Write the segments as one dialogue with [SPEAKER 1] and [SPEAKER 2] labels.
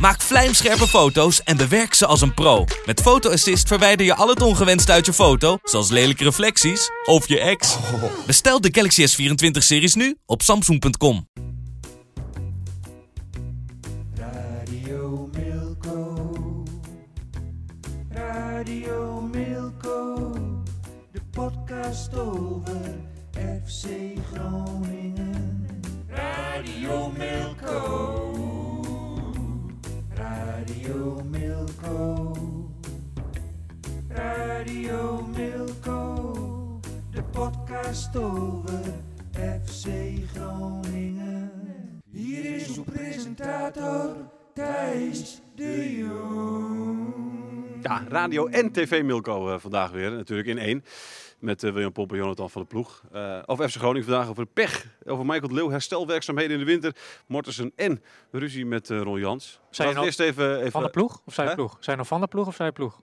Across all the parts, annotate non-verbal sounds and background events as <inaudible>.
[SPEAKER 1] Maak vlijmscherpe foto's en bewerk ze als een pro. Met Photo Assist verwijder je al het ongewenst uit je foto, zoals lelijke reflecties of je ex. Bestel de Galaxy S24-series nu op samsung.com.
[SPEAKER 2] Radio Milko. Radio Milko. De podcast over FC Groningen. Radio Milko. Radio Milko. Radio Milko. De podcast over FC Groningen. Hier is uw presentator Thijs de Jong.
[SPEAKER 3] Ja, radio en tv Milko eh, vandaag weer. Natuurlijk in één. Met eh, William Pomp en Jonathan van de Ploeg. Eh over FC Groningen vandaag, over de pech. Over Michael de Leeuw, herstelwerkzaamheden in de winter. Mortensen en ruzie met eh Ron Jans.
[SPEAKER 4] Zijn
[SPEAKER 3] Laten we
[SPEAKER 4] al-
[SPEAKER 3] eerst even... even
[SPEAKER 4] Van de ploeg of zijn
[SPEAKER 3] Hè?
[SPEAKER 4] ploeg? Zijn nog van de ploeg of zijn ploeg?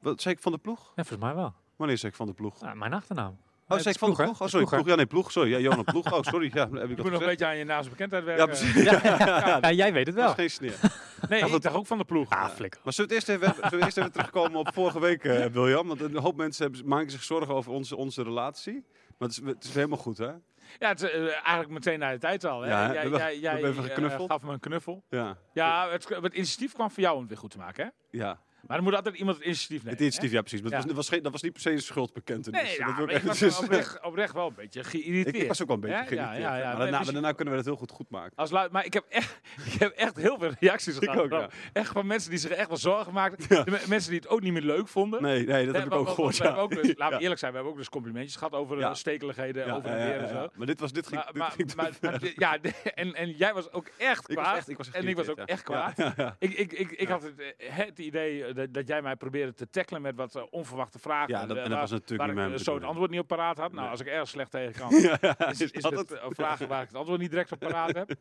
[SPEAKER 3] Wat zei ik van de ploeg?
[SPEAKER 4] Ja, volgens mij wel.
[SPEAKER 3] Wanneer zei ik van de ploeg?
[SPEAKER 4] Ah, mijn achternaam.
[SPEAKER 3] Oh, zei ik van de ploeg? Oh, sorry, ploeg. Ja, nee, ploeg. Sorry, ja, Johan Ploeg. Oh, sorry. Ja, heb ik
[SPEAKER 5] Je
[SPEAKER 3] dat
[SPEAKER 5] moet nog een
[SPEAKER 3] gezegd?
[SPEAKER 5] beetje aan je naast bekendheid
[SPEAKER 3] Ja,
[SPEAKER 5] werken.
[SPEAKER 3] precies.
[SPEAKER 4] eh, <laughs> Ja, jij weet het
[SPEAKER 3] Dat
[SPEAKER 4] wel.
[SPEAKER 3] is geen sneer.
[SPEAKER 5] nee,
[SPEAKER 3] dat-
[SPEAKER 5] ik dacht ook van de ploeg.
[SPEAKER 4] <laughs> Ah, flikker.
[SPEAKER 3] Maar zullen we, het eerst even, zullen we eerst even terugkomen op vorige week, eh, William? Want een hoop mensen hebben, maken zich zorgen over onze, onze relatie. Maar het is, het is helemaal goed, hè?
[SPEAKER 5] Ja, het is eh, eigenlijk meteen naar de tijd al. Hè?
[SPEAKER 3] Ja, hè?
[SPEAKER 5] jij
[SPEAKER 3] We hebben-
[SPEAKER 5] jij,
[SPEAKER 3] we
[SPEAKER 5] jij,
[SPEAKER 3] hebben even
[SPEAKER 5] eh,
[SPEAKER 3] geknuffeld.
[SPEAKER 5] gaf me een knuffel.
[SPEAKER 3] Ja.
[SPEAKER 5] Ja, het, het initiatief kwam voor jou om het weer goed te maken. Hè?
[SPEAKER 3] Ja.
[SPEAKER 5] Maar er moet altijd iemand het initiatief nemen.
[SPEAKER 3] Het initiatief,
[SPEAKER 5] hè?
[SPEAKER 3] ja precies. Maar het
[SPEAKER 5] Ja.
[SPEAKER 3] was, was geen, dat was niet per se een schuldbekentenis.
[SPEAKER 5] Nee, ja,
[SPEAKER 3] dat wil
[SPEAKER 5] maar ik
[SPEAKER 3] even-
[SPEAKER 5] was
[SPEAKER 3] dus- <laughs>
[SPEAKER 5] oprecht, oprecht wel een beetje geïrriteerd.
[SPEAKER 3] ik, ik was ook wel een beetje
[SPEAKER 5] Hè?
[SPEAKER 3] geïrriteerd.
[SPEAKER 5] Ja, ja,
[SPEAKER 3] maar,
[SPEAKER 5] ja. Nee,
[SPEAKER 3] daarna, maar
[SPEAKER 5] dus-
[SPEAKER 3] daarna kunnen we dat heel goed goed maken.
[SPEAKER 5] als lui- maar ik heb, echt, <laughs> ik heb echt heel veel reacties
[SPEAKER 3] Ik
[SPEAKER 5] gehad.
[SPEAKER 3] ook, ja.
[SPEAKER 5] Echt van mensen die zich echt wel zorgen maakten.
[SPEAKER 3] Ja.
[SPEAKER 5] De me- mensen die het ook niet meer leuk vonden.
[SPEAKER 3] Nee, nee dat
[SPEAKER 5] Hè,
[SPEAKER 3] heb ik
[SPEAKER 5] want-
[SPEAKER 3] ook
[SPEAKER 5] want-
[SPEAKER 3] gehoord.
[SPEAKER 5] want we
[SPEAKER 3] ja.
[SPEAKER 5] hebben
[SPEAKER 3] <laughs>
[SPEAKER 5] ook dus- Laten
[SPEAKER 3] Ja.
[SPEAKER 5] we eerlijk zijn, we hebben ook dus complimentjes gehad over
[SPEAKER 3] Ja.
[SPEAKER 5] de stekeligheden,
[SPEAKER 3] Ja,
[SPEAKER 5] over en
[SPEAKER 3] ja, ja,
[SPEAKER 5] weer en
[SPEAKER 3] ja,
[SPEAKER 5] zo.
[SPEAKER 3] ja. Maar dit was dit ging.
[SPEAKER 5] Maar,
[SPEAKER 3] dit
[SPEAKER 5] maar,
[SPEAKER 3] ging te
[SPEAKER 5] maar,
[SPEAKER 3] ver.
[SPEAKER 5] maar dit- ja, de- en, en jij was ook echt
[SPEAKER 3] <laughs> ik
[SPEAKER 5] kwaad.
[SPEAKER 3] was echt, ik was echt
[SPEAKER 5] en ik was ook
[SPEAKER 3] geïrriteerd,
[SPEAKER 5] echt
[SPEAKER 3] ja.
[SPEAKER 5] kwaad.
[SPEAKER 3] Ja, ja,
[SPEAKER 5] Ik, ik, ik, ik had het, eh, het idee eh, dat, dat jij mij probeerde te tackelen met wat eh, onverwachte vragen.
[SPEAKER 3] Ja, dat- en
[SPEAKER 5] eh,
[SPEAKER 3] dat
[SPEAKER 5] waar-
[SPEAKER 3] was natuurlijk
[SPEAKER 5] waar
[SPEAKER 3] niet
[SPEAKER 5] ik,
[SPEAKER 3] mijn
[SPEAKER 5] eh, zo het
[SPEAKER 3] bedoeling.
[SPEAKER 5] antwoord niet op paraat had. Nou,
[SPEAKER 3] Nee.
[SPEAKER 5] als ik erg slecht tegen kan,
[SPEAKER 3] <laughs> ja. ja,
[SPEAKER 5] <laughs> is, is
[SPEAKER 3] dat
[SPEAKER 5] het
[SPEAKER 3] het?
[SPEAKER 5] eh, vragen waar ik het antwoord niet direct op paraat
[SPEAKER 3] <laughs>
[SPEAKER 5] heb.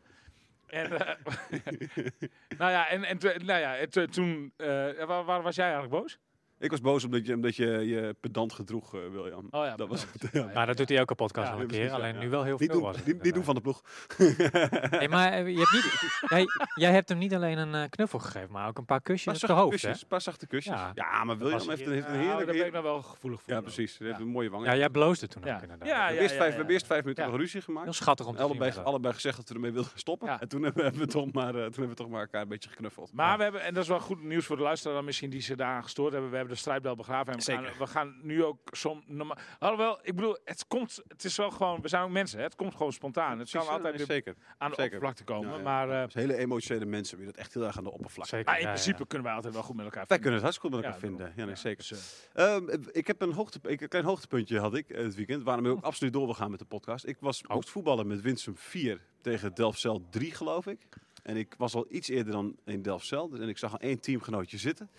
[SPEAKER 5] En, eh, <laughs> nou ja, en, en, toen- nou ja, en toen- toen... eh, waar, waar was jij eigenlijk boos?
[SPEAKER 3] Ik was boos omdat je, omdat je je pedant gedroeg, eh, William.
[SPEAKER 5] Oh ja,
[SPEAKER 3] dat was het.
[SPEAKER 5] ja, ja.
[SPEAKER 4] Maar dat doet hij elke podcast
[SPEAKER 5] Ja,
[SPEAKER 4] al een
[SPEAKER 3] precies,
[SPEAKER 4] keer.
[SPEAKER 3] ja,
[SPEAKER 4] Alleen
[SPEAKER 3] ja.
[SPEAKER 4] nu wel heel
[SPEAKER 3] Niet
[SPEAKER 4] veel
[SPEAKER 3] doen,
[SPEAKER 4] was. het
[SPEAKER 3] niet, niet doen
[SPEAKER 4] inderdaad.
[SPEAKER 3] van de ploeg.
[SPEAKER 4] Nee, maar eh, je hebt niet, <laughs> jij, jij hebt hem niet alleen een eh, knuffel gegeven, maar ook een paar kusjes op
[SPEAKER 3] zachte
[SPEAKER 4] de hoofd. Hè?
[SPEAKER 3] kusjes. Paar zachte kusjes. Ja,
[SPEAKER 4] Ja.
[SPEAKER 3] maar William
[SPEAKER 4] was-
[SPEAKER 3] heeft een, heeft een
[SPEAKER 5] Nou, daar ben ik
[SPEAKER 3] heerlijke...
[SPEAKER 5] nou wel gevoelig voor.
[SPEAKER 3] Ja, precies. Hij heeft een mooie wangen.
[SPEAKER 4] Ja, jij bloosde toen
[SPEAKER 5] Ja.
[SPEAKER 4] ook inderdaad.
[SPEAKER 5] Ja,
[SPEAKER 3] We hebben eerst vijf-
[SPEAKER 5] ja,
[SPEAKER 3] we
[SPEAKER 5] ja.
[SPEAKER 3] hebben eerst vijf minuten
[SPEAKER 5] Ja.
[SPEAKER 3] nog ruzie gemaakt.
[SPEAKER 4] Heel schattig om te
[SPEAKER 3] allebei,
[SPEAKER 4] zien. was dat.
[SPEAKER 3] allebei gezegd dat we ermee wilden stoppen.
[SPEAKER 5] Ja.
[SPEAKER 3] En toen hebben we toch maar, eh, toen hebben we toch maar elkaar een beetje geknuffeld.
[SPEAKER 5] Maar we hebben, en dat is wel goed nieuws voor de luisteraar dan misschien die ze daaraan gestoord hebben. We hebben de strijdbel begraven. En we,
[SPEAKER 3] Zeker.
[SPEAKER 5] Gaan, we gaan nu ook soms. Alhoewel, ik bedoel, het komt. Het is wel gewoon. We zijn ook mensen. Hè? Het komt gewoon spontaan. Het
[SPEAKER 3] Precies,
[SPEAKER 5] kan
[SPEAKER 3] ja,
[SPEAKER 5] altijd
[SPEAKER 3] nee,
[SPEAKER 5] weer
[SPEAKER 3] zeker.
[SPEAKER 5] aan de
[SPEAKER 3] zeker.
[SPEAKER 5] oppervlakte komen.
[SPEAKER 3] Ja, ja.
[SPEAKER 5] Maar, eh,
[SPEAKER 3] Dat is hele emotionele mensen weer dat echt heel erg aan de oppervlakte.
[SPEAKER 4] Zeker,
[SPEAKER 5] maar in
[SPEAKER 4] ja, ja.
[SPEAKER 5] principe kunnen wij altijd wel goed met elkaar.
[SPEAKER 3] Wij
[SPEAKER 5] vinden.
[SPEAKER 3] kunnen het hartstikke goed met elkaar
[SPEAKER 5] Ja,
[SPEAKER 3] vinden. Ja, nee, zeker.
[SPEAKER 5] Dus, eh,
[SPEAKER 3] Ehm, ik heb een, hoogte, ik- een klein hoogtepuntje had ik eh, het weekend, waarmee ik
[SPEAKER 5] Oh.
[SPEAKER 3] ook absoluut door wil gaan met de podcast. Ik was moest voetballen met Winsum 4 tegen Delfzijl 3, geloof ik. En ik was al iets eerder dan in Delfzijl. dus- En ik zag al één teamgenootje zitten.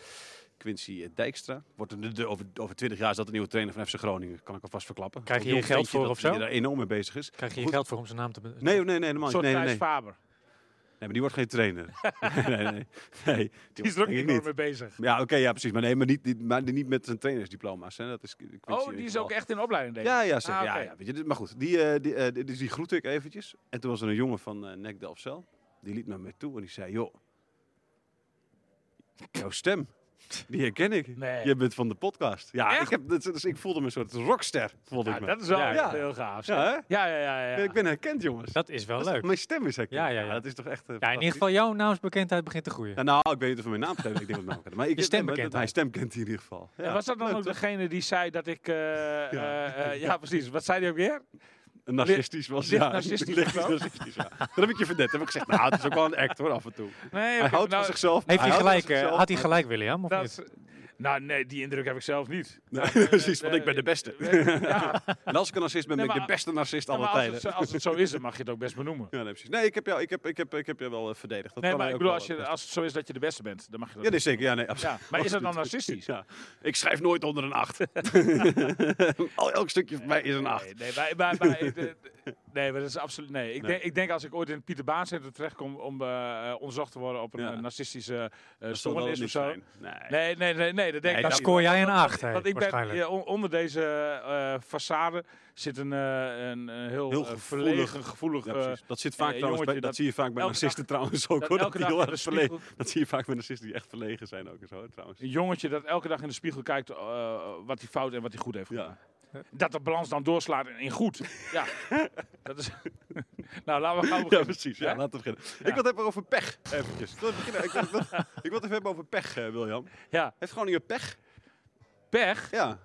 [SPEAKER 3] Quincy eh, Dijkstra. Wordt een- de- over, over 20 jaar is dat de nieuwe trainer van FC Groningen. Kan ik alvast verklappen.
[SPEAKER 4] Krijg je
[SPEAKER 3] Zo'n
[SPEAKER 4] hier
[SPEAKER 3] jong
[SPEAKER 4] geld
[SPEAKER 3] ventje dat-
[SPEAKER 4] voor of zo?
[SPEAKER 3] Die daar enorm mee bezig is.
[SPEAKER 4] Krijg je
[SPEAKER 3] Goed.
[SPEAKER 4] geld voor om zijn naam te be-
[SPEAKER 3] Nee, nee, nee, helemaal
[SPEAKER 5] een
[SPEAKER 3] niet.
[SPEAKER 5] soort
[SPEAKER 3] Nee, nee,
[SPEAKER 5] Thijs
[SPEAKER 3] nee.
[SPEAKER 5] Faber.
[SPEAKER 3] Nee, maar die wordt geen trainer.
[SPEAKER 5] <laughs>
[SPEAKER 3] nee, nee, nee. nee
[SPEAKER 5] Die is er ook
[SPEAKER 3] denk ik
[SPEAKER 5] niet
[SPEAKER 3] niet.
[SPEAKER 5] mee bezig.
[SPEAKER 3] Ja, oké, ja, precies. Maar nee, maar niet, niet, maar niet met zijn trainersdiploma's. Hè. Dat is, ik weet
[SPEAKER 5] Oh,
[SPEAKER 3] niet
[SPEAKER 5] die is
[SPEAKER 3] wel.
[SPEAKER 5] ook echt in opleiding, denk ik.
[SPEAKER 3] Ja, ja, zeker.
[SPEAKER 5] Ah,
[SPEAKER 3] ja,
[SPEAKER 5] oké.
[SPEAKER 3] ja, weet je, dit- maar goed, die, eh, die, eh, die- dus die groette ik eventjes. En toen was er een jongen van eh NEC Delfzijl. Die liep naar me toe en die zei, joh, jouw stem, die herken ik.
[SPEAKER 5] Nee.
[SPEAKER 3] Je bent van de podcast. Ja,
[SPEAKER 5] Echt?
[SPEAKER 3] ik, heb, dus, dus ik voelde me een soort rockster, voelde
[SPEAKER 5] Ja,
[SPEAKER 3] ik me.
[SPEAKER 5] dat is wel
[SPEAKER 4] Ja,
[SPEAKER 5] echt
[SPEAKER 3] ja.
[SPEAKER 5] heel gaaf. zeg.
[SPEAKER 3] Ja, hè?
[SPEAKER 5] Ja, ja, ja. ja, ja.
[SPEAKER 3] Ik ben herkend, jongens.
[SPEAKER 4] Dat is wel
[SPEAKER 3] Dat is
[SPEAKER 4] leuk.
[SPEAKER 3] toch- Mijn stem is herkend.
[SPEAKER 4] Ja, ja, ja.
[SPEAKER 3] Dat is toch echt eh,
[SPEAKER 4] Ja, in ieder
[SPEAKER 3] fantastisch.
[SPEAKER 4] geval jouw naamsbekendheid begint te groeien.
[SPEAKER 3] Ja, nou, ik weet niet of hij mijn naam kent. Ik denk dat mijn naam kent. Maar ik,
[SPEAKER 4] Je stem
[SPEAKER 3] maar
[SPEAKER 4] bekend
[SPEAKER 3] dat- Mijn stem
[SPEAKER 4] ook.
[SPEAKER 3] kent hij in ieder geval. Ja.
[SPEAKER 5] En was dat dan
[SPEAKER 3] Leuk,
[SPEAKER 5] ook
[SPEAKER 3] toch?
[SPEAKER 5] degene die zei dat ik... eh, eh, eh, ja. precies. Wat zei die ook weer?
[SPEAKER 3] Narcistisch was,
[SPEAKER 5] licht
[SPEAKER 3] ja.
[SPEAKER 5] narcistisch
[SPEAKER 3] Licht
[SPEAKER 5] wel.
[SPEAKER 3] narcistisch, ja. Dat heb ik je verdet. Heb ik gezegd, nou, het is ook wel een act hoor, af en toe.
[SPEAKER 5] Nee,
[SPEAKER 3] Hij
[SPEAKER 5] oké,
[SPEAKER 3] houdt van
[SPEAKER 5] nou,
[SPEAKER 3] zichzelf.
[SPEAKER 4] Heeft hij
[SPEAKER 3] houdt van
[SPEAKER 4] gelijk, eh,
[SPEAKER 3] zichzelf,
[SPEAKER 4] had hij
[SPEAKER 3] maar-
[SPEAKER 4] gelijk, William? Of
[SPEAKER 5] dat
[SPEAKER 4] niet?
[SPEAKER 5] is- nou, nee, die indruk heb ik zelf niet.
[SPEAKER 3] Nee, <laughs> precies, want
[SPEAKER 5] eh,
[SPEAKER 3] ik ben de beste. <laughs>
[SPEAKER 5] Ja,
[SPEAKER 3] En als ik een narcist ben,
[SPEAKER 5] Nee,
[SPEAKER 3] ben ik de
[SPEAKER 5] maar-
[SPEAKER 3] beste narcist
[SPEAKER 5] maar
[SPEAKER 3] aller
[SPEAKER 5] als,
[SPEAKER 3] tijden.
[SPEAKER 5] het, zo- als het zo is, dan mag je het ook best benoemen.
[SPEAKER 3] Ja, nee, precies. Nee, ik heb jou, ik heb, ik heb, ik heb jou wel eh, verdedigd. Dat
[SPEAKER 5] nee,
[SPEAKER 3] kan
[SPEAKER 5] maar
[SPEAKER 3] hij
[SPEAKER 5] ik
[SPEAKER 3] ook
[SPEAKER 5] bedoel,
[SPEAKER 3] wel,
[SPEAKER 5] als, je,
[SPEAKER 3] eh,
[SPEAKER 5] als het zo is dat je de beste bent, dan mag je dat
[SPEAKER 3] Ja, dus nee, zeker. Ja, nee, absoluut.
[SPEAKER 5] Ja, maar is
[SPEAKER 3] <laughs>
[SPEAKER 5] dat dan
[SPEAKER 3] Absoluut.
[SPEAKER 5] narcistisch?
[SPEAKER 3] Ja. Ik schrijf nooit onder een
[SPEAKER 5] <laughs>
[SPEAKER 3] 8. Al elk stukje van mij is een 8.
[SPEAKER 5] Nee, nee, maar, maar,
[SPEAKER 3] <laughs>
[SPEAKER 5] maar, eh, de- de- nee, maar dat is absoluut. Nee, ik,
[SPEAKER 3] Nee.
[SPEAKER 5] Denk, ik denk als ik ooit in het Pieter Baan Centrum terechtkom om eh, eh, onderzocht te worden op een
[SPEAKER 3] Ja.
[SPEAKER 5] eh, narcistische eh
[SPEAKER 3] Dat zal wel
[SPEAKER 5] stoornis of
[SPEAKER 3] niet
[SPEAKER 5] zo.
[SPEAKER 3] zijn. Nee.
[SPEAKER 5] Nee, nee, nee, nee, dat denk
[SPEAKER 3] Nee,
[SPEAKER 5] ik
[SPEAKER 4] Dan
[SPEAKER 3] dat-
[SPEAKER 5] niet.
[SPEAKER 4] scoor jij een 8, hè,
[SPEAKER 5] Want ik ben,
[SPEAKER 4] waarschijnlijk.
[SPEAKER 5] ja, on- onder deze eh, eh, façade zit een, eh, een, een heel,
[SPEAKER 3] Heel
[SPEAKER 5] eh,
[SPEAKER 3] gevoelig-
[SPEAKER 5] verlegen, gevoelig...
[SPEAKER 3] Ja,
[SPEAKER 5] eh,
[SPEAKER 3] precies. Dat zit vaak
[SPEAKER 5] eh,
[SPEAKER 3] trouwens bij,
[SPEAKER 5] jongetje
[SPEAKER 3] dat,
[SPEAKER 5] dat
[SPEAKER 3] zie je vaak bij
[SPEAKER 5] elke
[SPEAKER 3] narcisten trouwens ook
[SPEAKER 5] dat
[SPEAKER 3] hoor. Dat,
[SPEAKER 5] elke
[SPEAKER 3] die
[SPEAKER 5] dag
[SPEAKER 3] heel
[SPEAKER 5] in
[SPEAKER 3] erg
[SPEAKER 5] de
[SPEAKER 3] verlegen.
[SPEAKER 5] spiegel-
[SPEAKER 3] <laughs> Dat zie je vaak bij narcisten die echt verlegen zijn ook en zo trouwens.
[SPEAKER 5] een jongetje dat elke dag in de spiegel kijkt eh, wat hij fout en wat hij goed heeft gedaan.
[SPEAKER 3] Ja.
[SPEAKER 5] Dat de balans dan doorslaat in- in
[SPEAKER 3] <laughs>
[SPEAKER 5] goed. Ja, dat is... <laughs> nou, laten we
[SPEAKER 3] <laughs>
[SPEAKER 5] gaan
[SPEAKER 3] Ja,
[SPEAKER 5] beginnen.
[SPEAKER 3] precies. Ja,
[SPEAKER 5] Hè?
[SPEAKER 3] laten we beginnen. Ik wil het hebben over pech, eventjes. Ik wil, beginnen- ik wil, ik wil- ik wil het even hebben over pech, eh, William.
[SPEAKER 5] Ja,
[SPEAKER 3] Heeft Groningen pech?
[SPEAKER 5] pech?
[SPEAKER 3] Ja.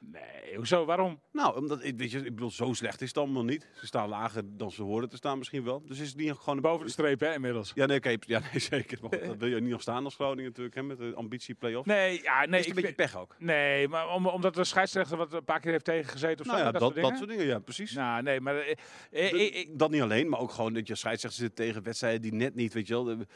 [SPEAKER 5] Nee, hoezo? Waarom?
[SPEAKER 3] Nou, omdat, ik- weet je, ik bedoel, zo slecht is het allemaal niet. Ze staan lager dan ze horen te staan misschien wel. Dus is het niet gewoon... een-
[SPEAKER 5] Boven de streep, hè, inmiddels.
[SPEAKER 3] Ja, nee, oké, ja, nee <laughs> zeker. Maar goed, dat wil je niet nog staan als Groningen natuurlijk, hè, met de ambitie play-off.
[SPEAKER 5] Nee, ja, nee.
[SPEAKER 3] is het een
[SPEAKER 5] ik
[SPEAKER 3] beetje
[SPEAKER 5] vind-
[SPEAKER 3] pech ook?
[SPEAKER 5] Nee, maar om, omdat de scheidsrechter wat een paar keer heeft tegengezeten of
[SPEAKER 3] Nou
[SPEAKER 5] zo.
[SPEAKER 3] ja, dat, dat,
[SPEAKER 5] soort dingen?
[SPEAKER 3] soort dingen, ja, precies.
[SPEAKER 5] Nou, nee, maar... eh, eh,
[SPEAKER 3] Dat-
[SPEAKER 5] eh, eh,
[SPEAKER 3] dat niet alleen, maar ook gewoon dat je scheidsrechter zit tegen wedstrijden die net niet, weet je wel. de-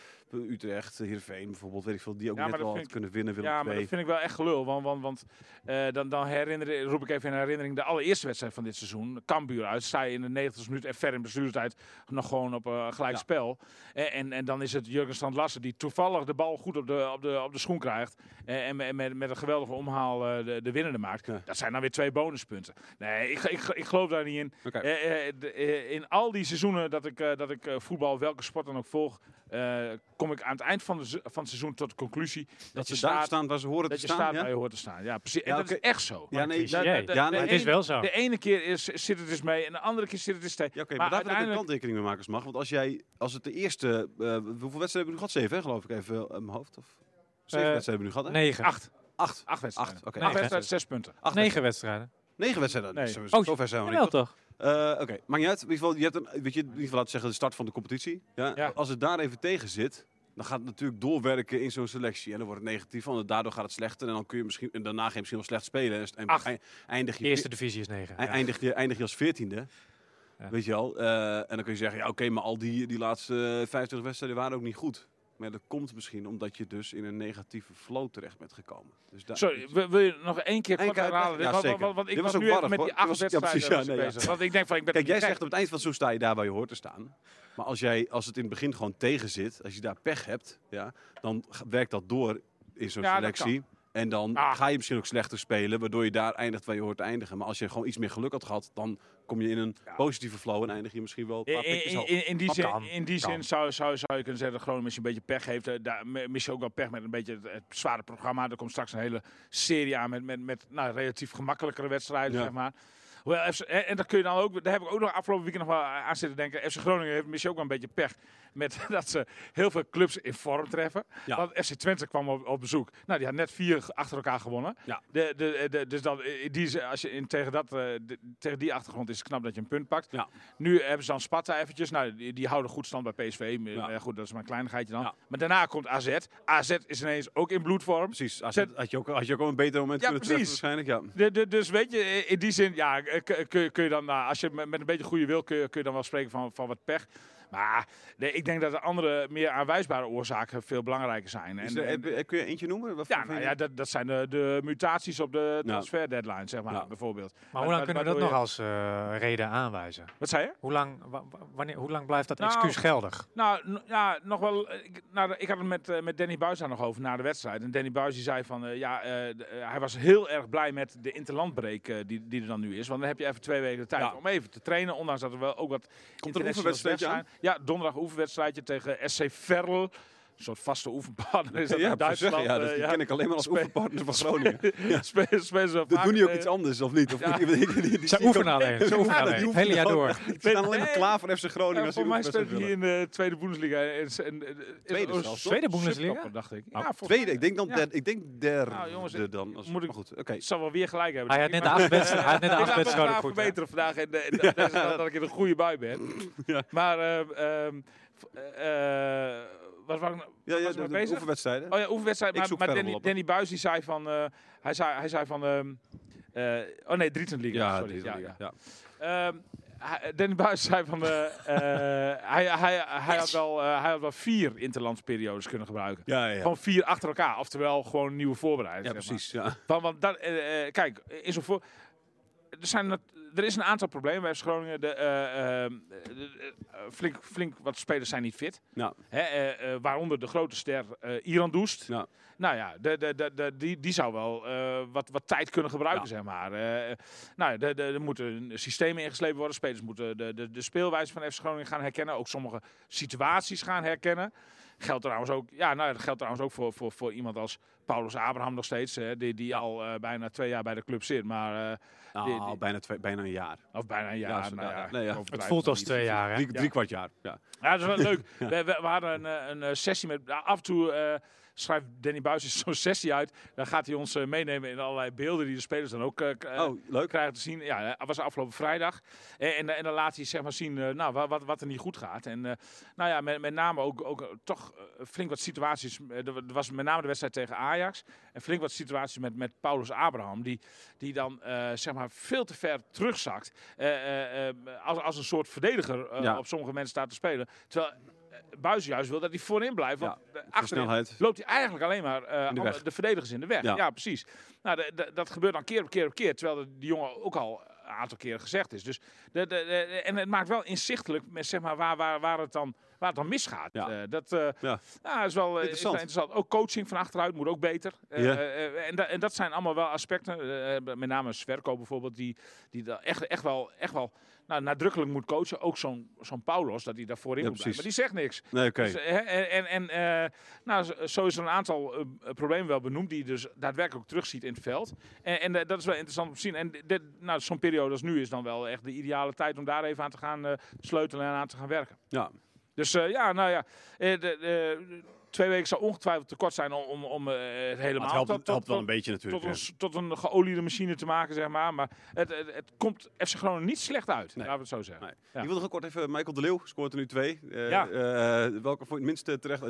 [SPEAKER 3] Utrecht, Heerenveen bijvoorbeeld, weet ik veel, die ook
[SPEAKER 5] Ja,
[SPEAKER 3] net
[SPEAKER 5] maar dat
[SPEAKER 3] wel
[SPEAKER 5] vind
[SPEAKER 3] had
[SPEAKER 5] ik-
[SPEAKER 3] kunnen winnen, Willem
[SPEAKER 5] Ja, maar
[SPEAKER 3] II.
[SPEAKER 5] dat vind ik wel echt gelul. Want, want, want eh, dan, dan herinner, roep ik even in herinnering de allereerste wedstrijd van dit seizoen. Cambuur uit. Zij in de 90 minuut en ver in bestuurstijd nog gewoon op eh, gelijk
[SPEAKER 3] Ja.
[SPEAKER 5] spel. Eh, en, en dan is het Jurgen Strand Larsen die toevallig de bal goed op de, op de, op de schoen krijgt. Eh, en me- met, met een geweldige omhaal eh, de, de winnende maakt.
[SPEAKER 3] Ja.
[SPEAKER 5] Dat zijn dan weer twee bonuspunten. Nee, ik, ik, ik geloof daar niet in.
[SPEAKER 3] Oké.
[SPEAKER 5] Eh, eh, de- eh, in al die seizoenen dat ik, eh, dat ik eh, voetbal, welke sport dan ook volg, eh, kom ik aan het eind van, de, se- van het seizoen tot de conclusie dat,
[SPEAKER 3] Dat
[SPEAKER 5] je
[SPEAKER 3] ze daar
[SPEAKER 5] staat,
[SPEAKER 3] staan waar ze horen
[SPEAKER 5] dat
[SPEAKER 3] te
[SPEAKER 5] je
[SPEAKER 3] staan.
[SPEAKER 5] staat
[SPEAKER 3] ja?
[SPEAKER 5] waar je hoort te staan. Ja, precies. En
[SPEAKER 3] Ja,
[SPEAKER 5] dat
[SPEAKER 3] oké.
[SPEAKER 5] is echt zo.
[SPEAKER 3] Ja, nee,
[SPEAKER 4] cliché.
[SPEAKER 3] ja,
[SPEAKER 5] dat- dat-
[SPEAKER 3] ja,
[SPEAKER 5] dat-
[SPEAKER 3] nee.
[SPEAKER 4] het is wel zo.
[SPEAKER 5] De ene keer is, zit het dus mee en de andere keer zit het dus tegen.
[SPEAKER 3] Ja, oké, maar,
[SPEAKER 5] Maar
[SPEAKER 3] daar wil ik een
[SPEAKER 5] uiteindelijk-
[SPEAKER 3] kanttekening mee maken als het mag. Want als jij, als het de eerste, eh, hoeveel wedstrijden hebben we nu gehad? Zeven, hè, geloof ik even eh, in mijn hoofd. Of zeven wedstrijden
[SPEAKER 4] Eh,
[SPEAKER 3] hebben we nu gehad, hè?
[SPEAKER 4] 9.
[SPEAKER 5] Acht.
[SPEAKER 3] Acht.
[SPEAKER 5] Acht wedstrijden. Nou,
[SPEAKER 3] Acht, oké.
[SPEAKER 4] Negen.
[SPEAKER 5] Acht wedstrijden, zes punten.
[SPEAKER 3] Acht
[SPEAKER 4] 9 wedstrijden.
[SPEAKER 3] wedstrijden. Negen wedstrijden.
[SPEAKER 5] Nee.
[SPEAKER 3] Zo-
[SPEAKER 4] Oh,
[SPEAKER 3] zo ver zijn we nog
[SPEAKER 4] Jawel
[SPEAKER 3] niet.
[SPEAKER 4] toch?
[SPEAKER 3] Eh, Oké, maakt niet uit. In ieder geval, je hebt een, weet je, in ieder geval laten zeggen de start van de competitie. Ja?
[SPEAKER 5] Ja.
[SPEAKER 3] Als het daar even tegen zit, dan gaat het natuurlijk doorwerken in zo'n selectie. En dan wordt het negatief, want daardoor gaat het slechter. En dan kun je misschien, en daarna ga je misschien wel slecht spelen. En, en
[SPEAKER 4] Acht.
[SPEAKER 3] ei- eindig je,
[SPEAKER 4] Eerste divisie is 9.
[SPEAKER 3] ei- eindig je, eindig je als veertiende.
[SPEAKER 4] Ja.
[SPEAKER 3] Weet je wel. Eh, en dan kun je zeggen, ja oké, maar al die, die laatste eh, 25 wedstrijden waren ook niet goed. Maar ja, dat komt misschien omdat je dus in een negatieve flow terecht bent gekomen. Dus daar-
[SPEAKER 5] Sorry, wil, wil je nog één keer
[SPEAKER 3] Eén
[SPEAKER 5] kort
[SPEAKER 3] keer-
[SPEAKER 5] herhalen?
[SPEAKER 3] ja,
[SPEAKER 5] want,
[SPEAKER 3] zeker.
[SPEAKER 5] want- want ik
[SPEAKER 3] Dit was
[SPEAKER 5] was,
[SPEAKER 3] ook
[SPEAKER 5] nu even
[SPEAKER 3] warm,
[SPEAKER 5] met
[SPEAKER 3] hoor.
[SPEAKER 5] die
[SPEAKER 3] Dit
[SPEAKER 5] acht
[SPEAKER 3] was- ja,
[SPEAKER 5] wedstrijden
[SPEAKER 3] precies, ja,
[SPEAKER 5] was ik
[SPEAKER 3] nee, ja.
[SPEAKER 5] bezig. Want ik denk van, ik ben
[SPEAKER 3] Kijk,
[SPEAKER 5] er
[SPEAKER 3] jij
[SPEAKER 5] niet
[SPEAKER 3] zegt op het eind van het seizoen sta je daar waar je hoort te staan. Maar als, jij, als het in het begin gewoon tegen zit, als je daar pech hebt, ja, dan g- werkt dat door in zo'n
[SPEAKER 5] Ja, dat
[SPEAKER 3] selectie. En dan
[SPEAKER 5] Ah.
[SPEAKER 3] ga je misschien ook slechter spelen, waardoor je daar eindigt waar je hoort te eindigen. Maar als je gewoon iets meer geluk had gehad, dan kom je in een positieve flow en eindig je misschien wel een paar
[SPEAKER 5] In,
[SPEAKER 3] pikjes
[SPEAKER 5] in,
[SPEAKER 3] hoog.
[SPEAKER 5] in, in die
[SPEAKER 4] Dat
[SPEAKER 5] zin,
[SPEAKER 4] kan,
[SPEAKER 5] in die
[SPEAKER 4] kan.
[SPEAKER 5] zin zou, zou, zou je kunnen zeggen dat Groningen misschien een beetje pech heeft. Eh, Daar mi- mis je ook wel pech met een beetje het, het zware programma. Er komt straks een hele serie aan met, met, met nou, relatief gemakkelijkere wedstrijden,
[SPEAKER 3] Ja.
[SPEAKER 5] zeg maar. Hoewel FC en, en dat kun je dan ook, daar heb ik ook nog afgelopen weekend nog wel aan zitten denken. FC Groningen heeft misschien ook wel een beetje pech met <laughs> dat ze heel veel clubs in vorm treffen.
[SPEAKER 3] Ja.
[SPEAKER 5] Want FC Twente kwam op, op bezoek. Nou, die had net vier achter elkaar gewonnen.
[SPEAKER 3] Ja.
[SPEAKER 5] De, de, de- dus dan, eh, die, ze- als je in, tegen, dat, eh, de- tegen die achtergrond is het knap dat je een punt pakt.
[SPEAKER 3] Ja.
[SPEAKER 5] Nu hebben ze dan Sparta eventjes. Nou, die, die houden goed stand bij PSV. Maar,
[SPEAKER 3] Ja.
[SPEAKER 5] eh, goed, dat is maar een kleinigheidje dan.
[SPEAKER 3] Ja.
[SPEAKER 5] Maar daarna komt AZ. AZ is ineens ook in bloedvorm.
[SPEAKER 3] Precies, als je- had je, ook, had je ook wel een beter moment
[SPEAKER 5] Ja,
[SPEAKER 3] kunnen treffen
[SPEAKER 5] precies.
[SPEAKER 3] waarschijnlijk. Ja.
[SPEAKER 5] De- de- dus weet je, eh, in die zin, ja, eh, k- kun, je- kun je dan, nou, als je met met een beetje goede wil, kun je, kun je dan wel spreken van, van wat pech. Maar nee, ik denk dat de andere, meer aanwijsbare oorzaken veel belangrijker zijn.
[SPEAKER 3] Is
[SPEAKER 5] En,
[SPEAKER 3] er-
[SPEAKER 5] en-
[SPEAKER 3] heb- heb- kun je eentje noemen? Waarvan
[SPEAKER 5] ja, nou
[SPEAKER 3] je-
[SPEAKER 5] ja, dat, dat zijn de, de mutaties op de transferdeadline, zeg maar,
[SPEAKER 3] Ja.
[SPEAKER 5] bijvoorbeeld.
[SPEAKER 4] Maar hoe lang kunnen we dat
[SPEAKER 5] waardoor
[SPEAKER 4] nog
[SPEAKER 5] je-
[SPEAKER 4] als eh, reden aanwijzen?
[SPEAKER 5] Wat zei je?
[SPEAKER 4] Hoe lang, wa- wa- wanneer, hoe lang blijft dat
[SPEAKER 5] Nou,
[SPEAKER 4] excuus geldig?
[SPEAKER 5] Nou, n- ja, nog wel. eh, Ik, nou, de- ik had het met, eh, met Danny Buis daar nog over na de wedstrijd. En Danny Buis die zei van, eh, ja, eh, de- eh, hij was heel erg blij met de interlandbreek eh, die, die er dan nu is. Want dan heb je even twee weken de tijd
[SPEAKER 3] Ja.
[SPEAKER 5] om even te trainen. Ondanks dat er wel ook wat
[SPEAKER 3] Komt er een oefenwedstrijdje
[SPEAKER 5] internationals weg zijn. Ja, donderdag een oefenwedstrijdje tegen SC Verl. een soort vaste oefenpartner is.
[SPEAKER 3] <laughs>
[SPEAKER 5] Dat
[SPEAKER 3] ja,
[SPEAKER 5] in
[SPEAKER 3] precies. ja,
[SPEAKER 5] Duitsland.
[SPEAKER 3] dat,
[SPEAKER 5] eh,
[SPEAKER 3] die
[SPEAKER 5] ja.
[SPEAKER 3] ken ik alleen maar als
[SPEAKER 5] Spe-
[SPEAKER 3] oefenpartner van
[SPEAKER 5] <laughs>
[SPEAKER 3] Groningen.
[SPEAKER 5] Spe- spelen ze
[SPEAKER 3] Dat
[SPEAKER 5] vaak,
[SPEAKER 3] doen die ook
[SPEAKER 5] eh,
[SPEAKER 3] iets anders, of niet? Of
[SPEAKER 5] Ja.
[SPEAKER 3] die, die, die- die-
[SPEAKER 4] Ze
[SPEAKER 3] die-
[SPEAKER 4] oefenen alleen. Ze oefenen
[SPEAKER 3] <laughs> Ja,
[SPEAKER 4] alleen.
[SPEAKER 3] die
[SPEAKER 4] Het hele jaar
[SPEAKER 3] gewoon- <laughs>
[SPEAKER 4] door.
[SPEAKER 3] Die staan alleen maar
[SPEAKER 5] Nee.
[SPEAKER 3] klaar voor FC Groningen.
[SPEAKER 5] Ja,
[SPEAKER 3] als
[SPEAKER 5] voor Eh, mij
[SPEAKER 3] die
[SPEAKER 5] speelt
[SPEAKER 3] oefenwedstrijd
[SPEAKER 5] hij in de tweede Bundesliga. En, en, en,
[SPEAKER 3] Tweede
[SPEAKER 5] oh,
[SPEAKER 3] zelfs,
[SPEAKER 4] toch? Tweede Bundesliga?
[SPEAKER 5] subtopper, dacht ik. Ja,
[SPEAKER 3] willen.
[SPEAKER 5] volgens
[SPEAKER 3] Tweede,
[SPEAKER 5] mij.
[SPEAKER 3] ik denk dan
[SPEAKER 5] Ja.
[SPEAKER 3] derde. Ik denk derde
[SPEAKER 5] Nou, jongens, ik-
[SPEAKER 3] dan. Als,
[SPEAKER 5] moet ik-
[SPEAKER 3] maar goed, oké.
[SPEAKER 5] Ik zal wel weer gelijk hebben.
[SPEAKER 4] Hij had net de achtbedst- hij had net de achtbedst-
[SPEAKER 5] Ik
[SPEAKER 4] schouder
[SPEAKER 5] ga
[SPEAKER 4] goed,
[SPEAKER 5] verbeteren vandaag. En, eh, en dat- dat is dan dat ik in een goede bui ben.
[SPEAKER 3] Ja.
[SPEAKER 5] Maar, eh, ehm, v- eh, eh, wat was ik nou-
[SPEAKER 3] Ja, ja,
[SPEAKER 5] was ik
[SPEAKER 3] de,
[SPEAKER 5] mee
[SPEAKER 3] de
[SPEAKER 5] bezig?
[SPEAKER 3] oefenwedstrijden.
[SPEAKER 5] Oh ja, oefenwedstrijd.
[SPEAKER 3] Ik
[SPEAKER 5] Maar,
[SPEAKER 3] zoek
[SPEAKER 5] maar
[SPEAKER 3] verder
[SPEAKER 5] Danny,
[SPEAKER 3] wel op.
[SPEAKER 5] Danny Buis die zei van... eh, hij, zei, hij zei van... ehm, eh, oh nee, Drietendliga. sorry.
[SPEAKER 3] die-
[SPEAKER 5] Ja, ja.
[SPEAKER 3] ja.
[SPEAKER 5] Ehm, hij- Danny Buis <laughs> zei van, eh, eh, hij, hij, hij, had wel, eh, hij had wel vier interlandsperiodes kunnen gebruiken.
[SPEAKER 3] Ja, ja, ja.
[SPEAKER 5] Gewoon vier achter elkaar, oftewel gewoon een nieuwe voorbereiding.
[SPEAKER 3] Ja,
[SPEAKER 5] zeg maar.
[SPEAKER 3] precies. Ja.
[SPEAKER 5] Want, want dat, eh, eh, kijk, in zo'n voor... Er, zijn, nat- er is een aantal problemen bij FC Groningen. De, eh, ehm, de- de- eh, flink, flink wat spelers zijn niet fit.
[SPEAKER 3] Nou,
[SPEAKER 5] Hè, eh, eh, waaronder de grote ster eh Iran Doest.
[SPEAKER 3] Ja.
[SPEAKER 5] Nou ja, de, de, de, de- die, die zou wel eh, wat, wat tijd kunnen gebruiken,
[SPEAKER 3] Ja.
[SPEAKER 5] zeg maar. Eh, nou ja, de- de- er moeten systemen ingeslepen worden. Spelers moeten de, de, de speelwijze van FC Groningen gaan herkennen. Ook sommige situaties gaan herkennen. Geldt trouwens ook, ja, nou, ja, dat geldt trouwens ook voor, voor, voor iemand als Paulus Abraham nog steeds. Hè, die die al eh, bijna twee jaar bij de club zit. Maar, eh,
[SPEAKER 3] nou,
[SPEAKER 5] die- die-
[SPEAKER 3] bijna, twee, bijna een jaar.
[SPEAKER 5] of bijna een jaar.
[SPEAKER 3] Ja, zo-
[SPEAKER 5] nou
[SPEAKER 3] ja,
[SPEAKER 5] ja,
[SPEAKER 3] nee, ja.
[SPEAKER 5] ik overdrijf
[SPEAKER 4] Het voelt
[SPEAKER 5] nog
[SPEAKER 4] als
[SPEAKER 5] niet.
[SPEAKER 4] twee jaar, hè?
[SPEAKER 3] Drie, drie kwart jaar. Ja.
[SPEAKER 5] Ja, dat
[SPEAKER 3] <laughs>
[SPEAKER 5] is wel leuk. We, we, we hadden een, eh, een eh, sessie met... nou, Af en toe eh, schrijft Danny Buis zo'n <laughs> sessie uit. Dan gaat hij ons eh, meenemen in allerlei beelden die de spelers dan ook eh, k- eh,
[SPEAKER 3] Oh, leuk.
[SPEAKER 5] krijgen te zien. Ja, dat was afgelopen vrijdag. En, en, en dan laat hij zeg maar zien eh, nou, wa- wat, wat er niet goed gaat. En eh, nou ja, met, met name ook, ook eh, toch eh, flink wat situaties. Eh, Er wa- er was met name de wedstrijd tegen Ajax. En flink wat situaties met, met Paulus Abraham. Die, die dan eh, zeg maar veel te ver terugzakt. Eh, eh, eh, als, als een soort verdediger eh,
[SPEAKER 3] Ja.
[SPEAKER 5] op sommige mensen staat te spelen. Terwijl eh, Buijs juist wil dat hij voorin blijft. Want eh,
[SPEAKER 3] De
[SPEAKER 5] achterin
[SPEAKER 3] snelheid.
[SPEAKER 5] loopt hij eigenlijk alleen maar eh,
[SPEAKER 3] In de
[SPEAKER 5] al-
[SPEAKER 3] weg.
[SPEAKER 5] de verdedigers in de weg.
[SPEAKER 3] Ja.
[SPEAKER 5] Ja, precies. Nou, de- de- dat gebeurt dan keer op keer op keer. Terwijl dat die jongen ook al een aantal keren gezegd is. Dus de, de, de- en het maakt wel inzichtelijk met, zeg maar, waar, waar, waar, het dan, waar het dan misgaat.
[SPEAKER 3] Ja.
[SPEAKER 5] Eh, dat eh,
[SPEAKER 3] Ja.
[SPEAKER 5] nou, is, wel, eh, is wel
[SPEAKER 3] Interessant.
[SPEAKER 5] interessant. Ook coaching van achteruit moet ook beter. Eh,
[SPEAKER 3] Ja.
[SPEAKER 5] eh, en, da- en dat zijn allemaal wel aspecten. eh, met name Sverko bijvoorbeeld, die, die daar echt, echt wel... Echt wel nou, nadrukkelijk moet coachen. Ook zo'n zo'n Paulos, dat hij daarvoor in
[SPEAKER 3] Ja,
[SPEAKER 5] moet blijven. Maar die
[SPEAKER 3] precies.
[SPEAKER 5] zegt niks.
[SPEAKER 3] Nee, oké.
[SPEAKER 5] Dus, eh, en en, en eh, nou, zo- zo is er een aantal eh, eh, problemen wel benoemd die je dus daadwerkelijk terugziet in het veld. En, en eh, dat is wel interessant om te zien. En dit, nou, zo'n periode als nu is dan wel echt de ideale tijd om daar even aan te gaan eh, sleutelen en aan te gaan werken.
[SPEAKER 3] Ja.
[SPEAKER 5] Dus eh, ja, nou ja, eh, de, de- twee weken zou ongetwijfeld te kort zijn om, om, om eh, het helemaal
[SPEAKER 3] Maar het helpt,
[SPEAKER 5] tot-
[SPEAKER 3] het helpt
[SPEAKER 5] tot-
[SPEAKER 3] wel een beetje natuurlijk.
[SPEAKER 5] tot,
[SPEAKER 3] ja.
[SPEAKER 5] ons, tot een geoliede machine te maken, zeg maar. Maar het, het, het komt FC Groningen niet slecht uit,
[SPEAKER 3] Nee.
[SPEAKER 5] laten we het zo zeggen.
[SPEAKER 3] Nee.
[SPEAKER 5] Ja.
[SPEAKER 3] Ik wil nog kort even... Michael de Leeuw scoort er nu twee. Eh,
[SPEAKER 5] Ja.
[SPEAKER 3] eh, welke voor het minst eh,
[SPEAKER 5] <laughs>
[SPEAKER 3] terecht...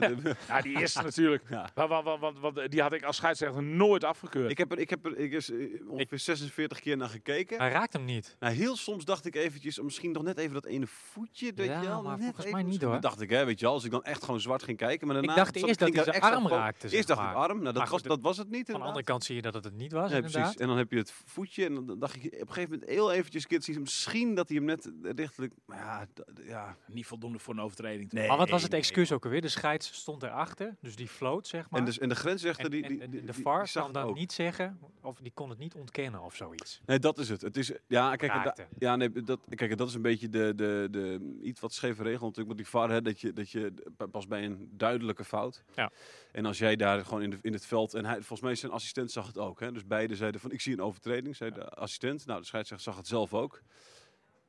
[SPEAKER 5] Ja, die
[SPEAKER 3] <laughs>
[SPEAKER 5] eerste natuurlijk.
[SPEAKER 3] Ja.
[SPEAKER 5] Want, want, want, want- want die had ik als scheidsrechter nooit afgekeurd.
[SPEAKER 3] ik heb er, ik heb er ik is, eh, ongeveer 46 keer naar gekeken.
[SPEAKER 4] Hij raakt hem niet.
[SPEAKER 3] Nou, heel soms dacht ik eventjes, om misschien nog net even dat ene voetje. Weet
[SPEAKER 4] Ja,
[SPEAKER 3] je wel,
[SPEAKER 4] maar
[SPEAKER 3] net
[SPEAKER 4] volgens
[SPEAKER 3] even
[SPEAKER 4] mij niet,
[SPEAKER 3] misschien.
[SPEAKER 4] hoor.
[SPEAKER 3] Dat dacht ik, hè, weet je wel. Als ik dan echt gewoon zwart ging kijken. Maar daarna
[SPEAKER 4] Ik dacht
[SPEAKER 3] zat-
[SPEAKER 4] eerst dat
[SPEAKER 3] ging
[SPEAKER 4] hij
[SPEAKER 3] daar
[SPEAKER 4] zijn
[SPEAKER 3] echt
[SPEAKER 4] arm
[SPEAKER 3] op-
[SPEAKER 4] raakte, zeg
[SPEAKER 3] Eerst dacht ik
[SPEAKER 4] maar.
[SPEAKER 3] arm. Nou,
[SPEAKER 4] Maar
[SPEAKER 3] dat, was,
[SPEAKER 4] goed,
[SPEAKER 3] dat was het niet.
[SPEAKER 4] Aan de andere
[SPEAKER 3] inderdaad.
[SPEAKER 4] kant zie je dat het het niet was,
[SPEAKER 3] Nee,
[SPEAKER 4] inderdaad.
[SPEAKER 3] precies. En dan heb je het voetje. En dan dacht ik op een gegeven moment heel eventjes kids zien. Misschien dat hij hem net richtelijk. Maar ja, dat- ja.
[SPEAKER 5] Niet voldoende voor een overtreding.
[SPEAKER 3] Nee.
[SPEAKER 4] Maar wat was het
[SPEAKER 3] nee.
[SPEAKER 4] excuus ook alweer? De scheids stond erachter, dus die floot, zeg maar.
[SPEAKER 3] En, dus, en de grensrechter
[SPEAKER 4] En-
[SPEAKER 3] die,
[SPEAKER 4] en-
[SPEAKER 3] die,
[SPEAKER 4] en
[SPEAKER 3] die-
[SPEAKER 4] de
[SPEAKER 3] die-
[SPEAKER 4] VAR
[SPEAKER 3] die zag
[SPEAKER 4] kan dat
[SPEAKER 3] het ook.
[SPEAKER 4] niet zeggen, of die kon het niet ontkennen of zoiets.
[SPEAKER 3] Nee, dat is het. Het is ja, kijk, en da-
[SPEAKER 4] Raakte.
[SPEAKER 3] ja, nee, dat, kijk, dat is een beetje de, de, de iets wat scheve regel natuurlijk met die VAR, hè, dat je dat je p- pas bij een duidelijke fout.
[SPEAKER 4] Ja.
[SPEAKER 3] En als jij daar gewoon in, de, in het veld en hij, volgens mij zijn assistent zag het ook, hè, dus beide zeiden van ik zie een overtreding, zei de assistent. Nou, de scheidsrechter zag het zelf ook.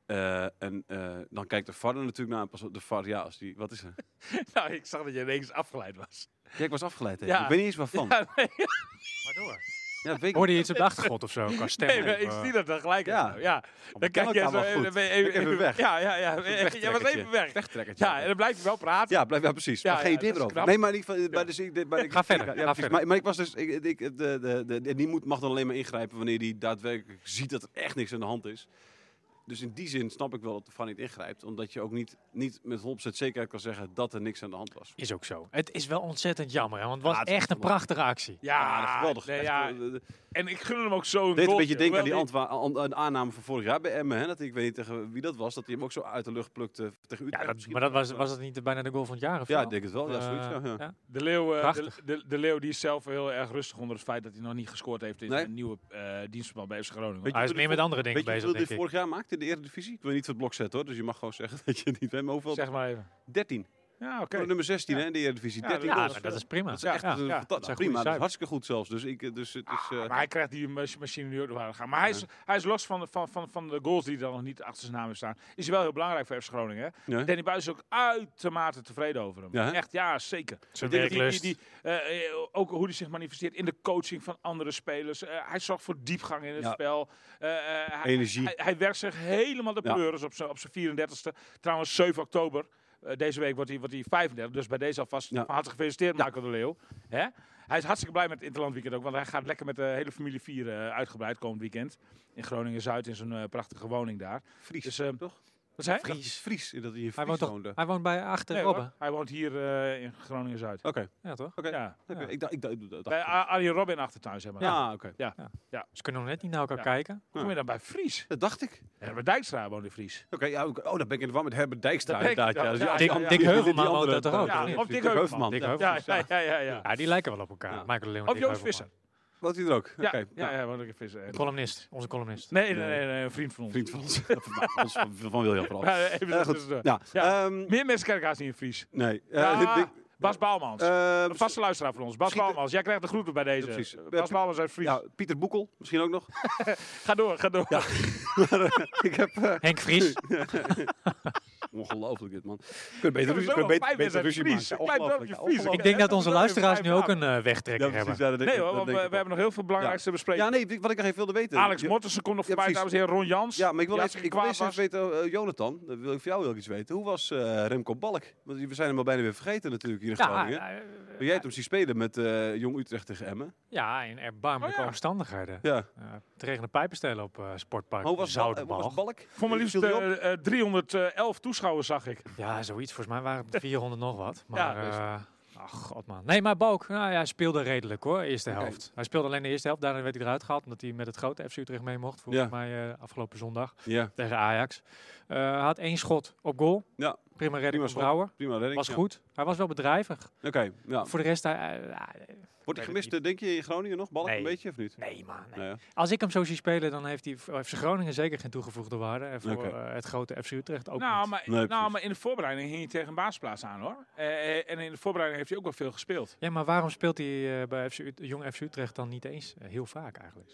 [SPEAKER 3] Eh, en eh, dan kijkt de VAR er natuurlijk naar. en Pas op de VAR, ja, als die, wat is er?
[SPEAKER 5] Nou, ik zag dat je ineens afgeleid was.
[SPEAKER 3] Ja, ik was afgeleid. hè.
[SPEAKER 5] Ja.
[SPEAKER 3] Ik weet niet eens waarvan. Ja,
[SPEAKER 5] Ja, nee,
[SPEAKER 4] Waardoor?
[SPEAKER 3] dat weet ik
[SPEAKER 4] Hoorde je iets op de achtergrond of
[SPEAKER 3] <laughs>
[SPEAKER 4] zo, qua stem?
[SPEAKER 5] nee, maar
[SPEAKER 4] of,
[SPEAKER 5] ik
[SPEAKER 4] eh,
[SPEAKER 5] zie dat dan gelijk.
[SPEAKER 3] Ja.
[SPEAKER 5] Ja, ja. dan
[SPEAKER 3] ken
[SPEAKER 5] kijk
[SPEAKER 3] ik
[SPEAKER 5] jij zo
[SPEAKER 3] allemaal goed.
[SPEAKER 5] even, ben je even,
[SPEAKER 3] Ik ben even weg.
[SPEAKER 5] Ja, ja, ja. Jij was
[SPEAKER 3] wegtrekkertje.
[SPEAKER 5] even weg.
[SPEAKER 3] Wegtrekkertje.
[SPEAKER 5] Ja, en dan blijf je wel praten.
[SPEAKER 3] Ja, blijf, ja precies.
[SPEAKER 5] Ja,
[SPEAKER 3] maar geen
[SPEAKER 5] ja,
[SPEAKER 3] idee
[SPEAKER 5] dat
[SPEAKER 3] meer over.
[SPEAKER 5] is knap.
[SPEAKER 3] Nee, maar in ieder geval... eh, bij de zin- de- bij de-
[SPEAKER 4] Ga verder,
[SPEAKER 3] Ja,
[SPEAKER 4] ga
[SPEAKER 3] precies.
[SPEAKER 4] verder.
[SPEAKER 3] Maar, maar ik was dus... Ik, ik, de, de, de, de- die moet, mag dan alleen maar ingrijpen wanneer die daadwerkelijk ziet dat er echt niks aan de hand is. Dus in die zin snap ik wel dat de VAR niet ingrijpt. Omdat je ook niet, niet met 100% zekerheid kan zeggen dat er niks aan de hand was.
[SPEAKER 4] Is ook zo. Het is wel ontzettend jammer, hè, want het was
[SPEAKER 3] Ja, het is
[SPEAKER 4] echt een prachtige actie.
[SPEAKER 3] Ja, Ah, dat is geweldig.
[SPEAKER 5] nee,
[SPEAKER 3] Echt,
[SPEAKER 5] ja.
[SPEAKER 3] eh, eh,
[SPEAKER 5] En ik gun hem ook zo een
[SPEAKER 3] Deed een beetje
[SPEAKER 5] goaltje,
[SPEAKER 3] denken aan die
[SPEAKER 5] hoewel
[SPEAKER 3] antwa- aan- aan- aanname van vorig jaar bij Emmen. Hè? Dat ik weet niet tegen wie dat was. Dat hij hem ook zo uit de lucht plukte tegen Utrecht.
[SPEAKER 4] Ja, dat,
[SPEAKER 3] misschien.
[SPEAKER 4] maar dat was,
[SPEAKER 5] eh,
[SPEAKER 4] was het niet bijna de goal van het jaar of
[SPEAKER 3] Ja,
[SPEAKER 4] zo?
[SPEAKER 3] ik denk het wel. Ja, zoiets, ja,
[SPEAKER 4] Eh,
[SPEAKER 3] ja.
[SPEAKER 5] De leeuw, eh, de,
[SPEAKER 4] Prachtig.
[SPEAKER 5] de, de leeuw die is zelf heel erg rustig onder het feit dat hij nog niet gescoord heeft in
[SPEAKER 3] Nee.
[SPEAKER 5] een nieuwe eh dienstverband bij FC Groningen. Ah,
[SPEAKER 3] Weet
[SPEAKER 4] Hij is
[SPEAKER 3] hoe
[SPEAKER 4] meer
[SPEAKER 3] dit
[SPEAKER 4] met andere dingen
[SPEAKER 3] Weet je
[SPEAKER 4] bezig,
[SPEAKER 3] hoeveel
[SPEAKER 4] denk
[SPEAKER 3] dit
[SPEAKER 4] ik.
[SPEAKER 3] vorig jaar maakte in de Eredivisie? Ik wil je niet voor het blok zetten hoor, dus je mag gewoon zeggen dat je het niet weet. Maar hoeveel?
[SPEAKER 5] Zeg maar even.
[SPEAKER 3] 13.
[SPEAKER 5] Ja, oké.
[SPEAKER 3] Voor Nummer 16 hè, in de Eredivisie.
[SPEAKER 5] Ja,
[SPEAKER 3] 13
[SPEAKER 5] dat-
[SPEAKER 4] Ja,
[SPEAKER 3] goals.
[SPEAKER 4] maar dat is prima.
[SPEAKER 3] Dat is echt
[SPEAKER 4] Ja,
[SPEAKER 3] een
[SPEAKER 4] ja,
[SPEAKER 3] fanta-
[SPEAKER 4] dat zijn goede
[SPEAKER 3] prima. Dat is
[SPEAKER 4] cijfers.
[SPEAKER 3] hartstikke goed zelfs. Dus ik, eh, dus het is. eh,
[SPEAKER 5] Ah, Maar hij krijgt die mach- machine nu ook nog aan gaan. Maar hij is, hij is los van, de- van, van, van de goals die er nog niet achter zijn naam hebben staan. Is hij wel heel belangrijk voor FC Groningen. Hè?
[SPEAKER 3] ja.
[SPEAKER 5] Danny Buis is ook uitermate tevreden over hem.
[SPEAKER 3] Ja, hè?
[SPEAKER 5] Echt, ja, zeker.
[SPEAKER 4] Zijn
[SPEAKER 5] Ik denk dat
[SPEAKER 4] werklust.
[SPEAKER 5] Die, die, eh, eh, ook hoe hij zich manifesteert in de coaching van andere spelers. Eh, hij zorgt voor diepgang in het
[SPEAKER 3] Ja.
[SPEAKER 5] spel. Eh, eh, hij,
[SPEAKER 3] Energie.
[SPEAKER 5] Hij, hij werkt zich helemaal de
[SPEAKER 3] Ja.
[SPEAKER 5] pleuris op zijn op zijn 34 e Trouwens, 7 oktober. eh, deze week wordt hij, wordt hij 35. Dus bij deze alvast
[SPEAKER 3] Ja.
[SPEAKER 5] van harte gefeliciteerd, Marco de Leeuw. Hè? Hij is hartstikke blij met het Interland Weekend ook. Want hij gaat lekker met de hele familie vieren. eh, uitgebreid komend weekend. In Groningen-Zuid in zijn eh, prachtige woning daar.
[SPEAKER 3] Fries.
[SPEAKER 5] Dus, eh,
[SPEAKER 3] toch?
[SPEAKER 5] Wat zei je?
[SPEAKER 3] Fries. Fries. eh, Dat hij in
[SPEAKER 4] Hij
[SPEAKER 3] Fries
[SPEAKER 4] woont, toch,
[SPEAKER 3] woonde.
[SPEAKER 4] hij woont bij achter
[SPEAKER 5] Nee, hoor.
[SPEAKER 4] Robben.
[SPEAKER 5] Hij woont hier eh, in Groningen-Zuid.
[SPEAKER 3] Oké.
[SPEAKER 4] Ja, toch?
[SPEAKER 3] Oké.
[SPEAKER 5] Ja.
[SPEAKER 3] oké.
[SPEAKER 4] Ja.
[SPEAKER 3] Ik dacht. Ik dacht. ik dacht-
[SPEAKER 5] Bij A- Arjen Robin achtertuin, zeg maar.
[SPEAKER 3] Ah, oké.
[SPEAKER 4] Ze kunnen nog net niet naar elkaar
[SPEAKER 5] Ja.
[SPEAKER 4] kijken.
[SPEAKER 5] Hoe kom je dan bij Fries?
[SPEAKER 3] Dat dacht ik.
[SPEAKER 5] Herbert Dijkstra woont in Fries.
[SPEAKER 3] Oké, ja, oké. oh, dan ben ik in de war met Herbert Dijkstra
[SPEAKER 5] Dat denk ik
[SPEAKER 3] inderdaad. Ja.
[SPEAKER 5] wel.
[SPEAKER 3] Dus
[SPEAKER 5] Ja,
[SPEAKER 3] die-
[SPEAKER 5] Dick-
[SPEAKER 3] die-
[SPEAKER 5] Dick
[SPEAKER 3] die- die
[SPEAKER 4] Heuvelman
[SPEAKER 3] andere-
[SPEAKER 4] woont dat toch ook,
[SPEAKER 3] Ja,
[SPEAKER 4] of niet?
[SPEAKER 3] of Dick Heuvelman.
[SPEAKER 4] Dick
[SPEAKER 3] Ja.
[SPEAKER 4] Heuvelman.
[SPEAKER 5] Ja, ja, ja, ja. ja.
[SPEAKER 4] Ja, die lijken wel op elkaar.
[SPEAKER 3] Ja.
[SPEAKER 4] Michael de Leeuw en
[SPEAKER 5] Of
[SPEAKER 4] Dick
[SPEAKER 5] Joost
[SPEAKER 4] Heuvelman.
[SPEAKER 5] Visser.
[SPEAKER 3] Woont hij er ook?
[SPEAKER 5] Ja,
[SPEAKER 3] Oké,
[SPEAKER 5] ja,
[SPEAKER 3] nou,
[SPEAKER 5] ja, woont ook in Visser.
[SPEAKER 4] De columnist, onze columnist.
[SPEAKER 5] Nee, nee, nee, nee, een vriend van ons.
[SPEAKER 3] Vriend van ons. Van ons, van- Van William vooral.
[SPEAKER 5] <laughs> Ja, even
[SPEAKER 3] Eh, goed.
[SPEAKER 5] tussendoor.
[SPEAKER 3] Ja,
[SPEAKER 5] Ja.
[SPEAKER 3] ehm,
[SPEAKER 5] Meer mensen kijken haast niet in Fries.
[SPEAKER 3] nee. Eh,
[SPEAKER 5] Ja,
[SPEAKER 3] dit- dit-
[SPEAKER 5] Bas Baalmans.
[SPEAKER 3] eh,
[SPEAKER 5] Een vaste luisteraar van ons. Bas
[SPEAKER 3] misschien-
[SPEAKER 5] Baalmans. Jij krijgt de groeten bij deze.
[SPEAKER 3] Ja, precies.
[SPEAKER 5] Bas Baalmans uit Fries.
[SPEAKER 3] ja, Pieter Boekel, misschien ook nog. <laughs>
[SPEAKER 5] Ga door, ga door.
[SPEAKER 3] ik heb... eh,
[SPEAKER 4] Henk Vries.
[SPEAKER 3] Ongelooflijk dit, man. Kun beter
[SPEAKER 5] hebben
[SPEAKER 3] ruzie,
[SPEAKER 5] zo
[SPEAKER 3] kun
[SPEAKER 5] nog
[SPEAKER 3] beter,
[SPEAKER 5] vijf
[SPEAKER 3] beter
[SPEAKER 5] wedstrijden
[SPEAKER 3] ruzie
[SPEAKER 5] verlies.
[SPEAKER 3] maken.
[SPEAKER 5] Een
[SPEAKER 3] Ongelooflijk,
[SPEAKER 5] klein dorpje
[SPEAKER 3] ja,
[SPEAKER 5] verlies.
[SPEAKER 3] ongelooflijk.
[SPEAKER 4] Ik denk dat onze
[SPEAKER 5] Ja,
[SPEAKER 4] luisteraars nu
[SPEAKER 5] vijf
[SPEAKER 4] ook een eh, wegtrekker
[SPEAKER 3] Ja, precies,
[SPEAKER 4] hebben.
[SPEAKER 3] ja, dat denk
[SPEAKER 5] <laughs> Nee
[SPEAKER 3] ik-
[SPEAKER 5] hoor,
[SPEAKER 3] dat
[SPEAKER 5] want we,
[SPEAKER 3] denk ik
[SPEAKER 5] we hebben nog heel veel belangrijks te
[SPEAKER 3] ook.
[SPEAKER 5] bespreken.
[SPEAKER 3] Ja, nee, wat ik nog even wilde weten.
[SPEAKER 5] Alex
[SPEAKER 3] Ja,
[SPEAKER 5] Mortensen komt nog
[SPEAKER 3] Ja,
[SPEAKER 5] voorbij,
[SPEAKER 3] precies.
[SPEAKER 5] dames en heren. Ron Jans.
[SPEAKER 3] Ja, maar ik wil
[SPEAKER 5] die
[SPEAKER 3] eerst, ik wil
[SPEAKER 5] kwaad
[SPEAKER 3] eerst
[SPEAKER 5] was.
[SPEAKER 3] even weten, eh, Jonathan, dat wil ik van jou wil ik iets weten. Hoe was eh, Remco Balk? Want we zijn hem al bijna weer vergeten natuurlijk hier in
[SPEAKER 4] Ja,
[SPEAKER 5] eh,
[SPEAKER 4] eh,
[SPEAKER 3] Groningen. Maar jij hebt hem zien spelen met eh, Jong Utrecht tegen Emmen.
[SPEAKER 4] ja, in erbarmelijke
[SPEAKER 5] Oh, ja.
[SPEAKER 4] omstandigheden.
[SPEAKER 3] Ja.
[SPEAKER 4] Eh, het regende pijpenstelen op eh, Sportpark
[SPEAKER 3] Hoe was, Bal, hoe was
[SPEAKER 4] Zoudenbalg.
[SPEAKER 3] Balk?
[SPEAKER 5] Voor mijn liefst
[SPEAKER 3] Viel die op?
[SPEAKER 5] eh, eh, 311 toeschouwers zag ik.
[SPEAKER 4] Ja, zoiets. Volgens mij waren
[SPEAKER 3] <laughs>
[SPEAKER 4] het 400 nog wat.
[SPEAKER 5] Ja,
[SPEAKER 4] Maar,
[SPEAKER 3] dus-
[SPEAKER 4] eh, ach, god man. Nee, maar Balk, nou ja, hij speelde redelijk hoor, eerste
[SPEAKER 3] Oké.
[SPEAKER 4] helft. Hij speelde alleen de eerste helft, daarna werd hij eruit gehaald. Omdat hij met het grote FC Utrecht mee mocht, volgens
[SPEAKER 3] Ja.
[SPEAKER 4] mij eh, afgelopen zondag
[SPEAKER 3] Ja,
[SPEAKER 4] tegen Ajax. Eh, hij had één schot op goal.
[SPEAKER 3] Ja.
[SPEAKER 4] Prima
[SPEAKER 3] Prima
[SPEAKER 4] redding van
[SPEAKER 3] schot.
[SPEAKER 4] Brouwer.
[SPEAKER 3] prima redding.
[SPEAKER 4] Was
[SPEAKER 3] ja.
[SPEAKER 4] goed. Hij was wel bedrijvig.
[SPEAKER 3] Oké, ja.
[SPEAKER 4] Voor de rest, hij, eh, ja,
[SPEAKER 3] Wordt hij
[SPEAKER 4] het
[SPEAKER 3] gemist, eh, denk je, in Groningen nog? Balk
[SPEAKER 4] Nee.
[SPEAKER 3] een beetje of niet?
[SPEAKER 4] nee man, nee.
[SPEAKER 3] Nou ja.
[SPEAKER 4] Als ik hem zo zie spelen, dan heeft hij heeft ze Groningen zeker geen toegevoegde waarde. En voor
[SPEAKER 3] Oké.
[SPEAKER 4] eh, het grote FC Utrecht ook
[SPEAKER 5] Nou
[SPEAKER 4] niet.
[SPEAKER 5] maar,
[SPEAKER 3] Nee, precies.
[SPEAKER 5] nou, maar in de voorbereiding hing hij tegen een baasplaats aan hoor. Eh, eh, en in de voorbereiding heeft hij ook wel veel gespeeld.
[SPEAKER 4] Ja, maar waarom speelt hij eh, bij FC Ut- jong FC Utrecht dan niet eens eh, heel vaak eigenlijk?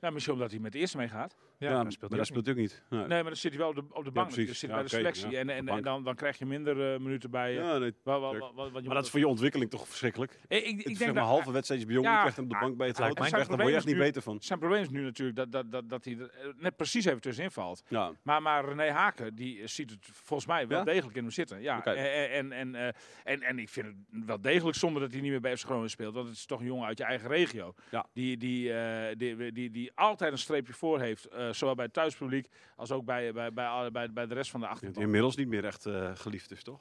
[SPEAKER 5] Ja, misschien omdat hij met de eerste meegaat.
[SPEAKER 4] Ja,
[SPEAKER 3] Ja,
[SPEAKER 4] dan speelt
[SPEAKER 3] maar
[SPEAKER 4] hij
[SPEAKER 3] dat
[SPEAKER 4] ook
[SPEAKER 3] speelt
[SPEAKER 4] niet.
[SPEAKER 3] hij ook niet. Nee.
[SPEAKER 5] Nee, maar dan zit hij wel op de, op de bank.
[SPEAKER 3] precies.
[SPEAKER 5] dan zit
[SPEAKER 3] Ja,
[SPEAKER 5] hij bij
[SPEAKER 3] oké,
[SPEAKER 5] de selectie.
[SPEAKER 3] ja,
[SPEAKER 5] en en,
[SPEAKER 3] bank.
[SPEAKER 5] en dan, dan krijg je minder eh, minuten bij je.
[SPEAKER 3] Ja, nee.
[SPEAKER 5] Wa- wa- wa-
[SPEAKER 3] tuurlijk.
[SPEAKER 5] wa- wat je
[SPEAKER 3] Maar dat is
[SPEAKER 5] moet-
[SPEAKER 3] voor je ontwikkeling toch verschrikkelijk?
[SPEAKER 5] Eh, Ik, ik,
[SPEAKER 3] Ik
[SPEAKER 5] denk
[SPEAKER 3] zeg maar
[SPEAKER 5] dat
[SPEAKER 3] halve wedstrijdjes bij Jong
[SPEAKER 5] Ja,
[SPEAKER 3] Utrecht op de
[SPEAKER 5] ah,
[SPEAKER 3] bank bij het
[SPEAKER 4] het lijkt
[SPEAKER 3] grote
[SPEAKER 4] mij-
[SPEAKER 3] Utrecht, daar word je echt niet beter van.
[SPEAKER 5] zijn probleem is nu natuurlijk dat, dat, dat, dat hij er eh, net precies even tussenin valt.
[SPEAKER 3] Ja,
[SPEAKER 5] Maar, maar René Haken die eh, ziet het volgens mij wel
[SPEAKER 3] Ja?
[SPEAKER 5] degelijk in hem zitten. Ja,
[SPEAKER 3] Oké.
[SPEAKER 5] eh, eh, en, en, eh, en, en ik vind het wel degelijk zonde dat hij niet meer bij FC Groningen speelt. Want het is toch een jongen uit je eigen regio.
[SPEAKER 3] Ja.
[SPEAKER 5] Die, die, eh, die, die, die altijd een streepje voor heeft. eh, zowel bij het thuispubliek als ook bij, eh, bij, bij, alle- bij, bij de rest van de
[SPEAKER 3] die
[SPEAKER 5] achterban.
[SPEAKER 3] inmiddels niet meer echt eh, geliefd is, toch?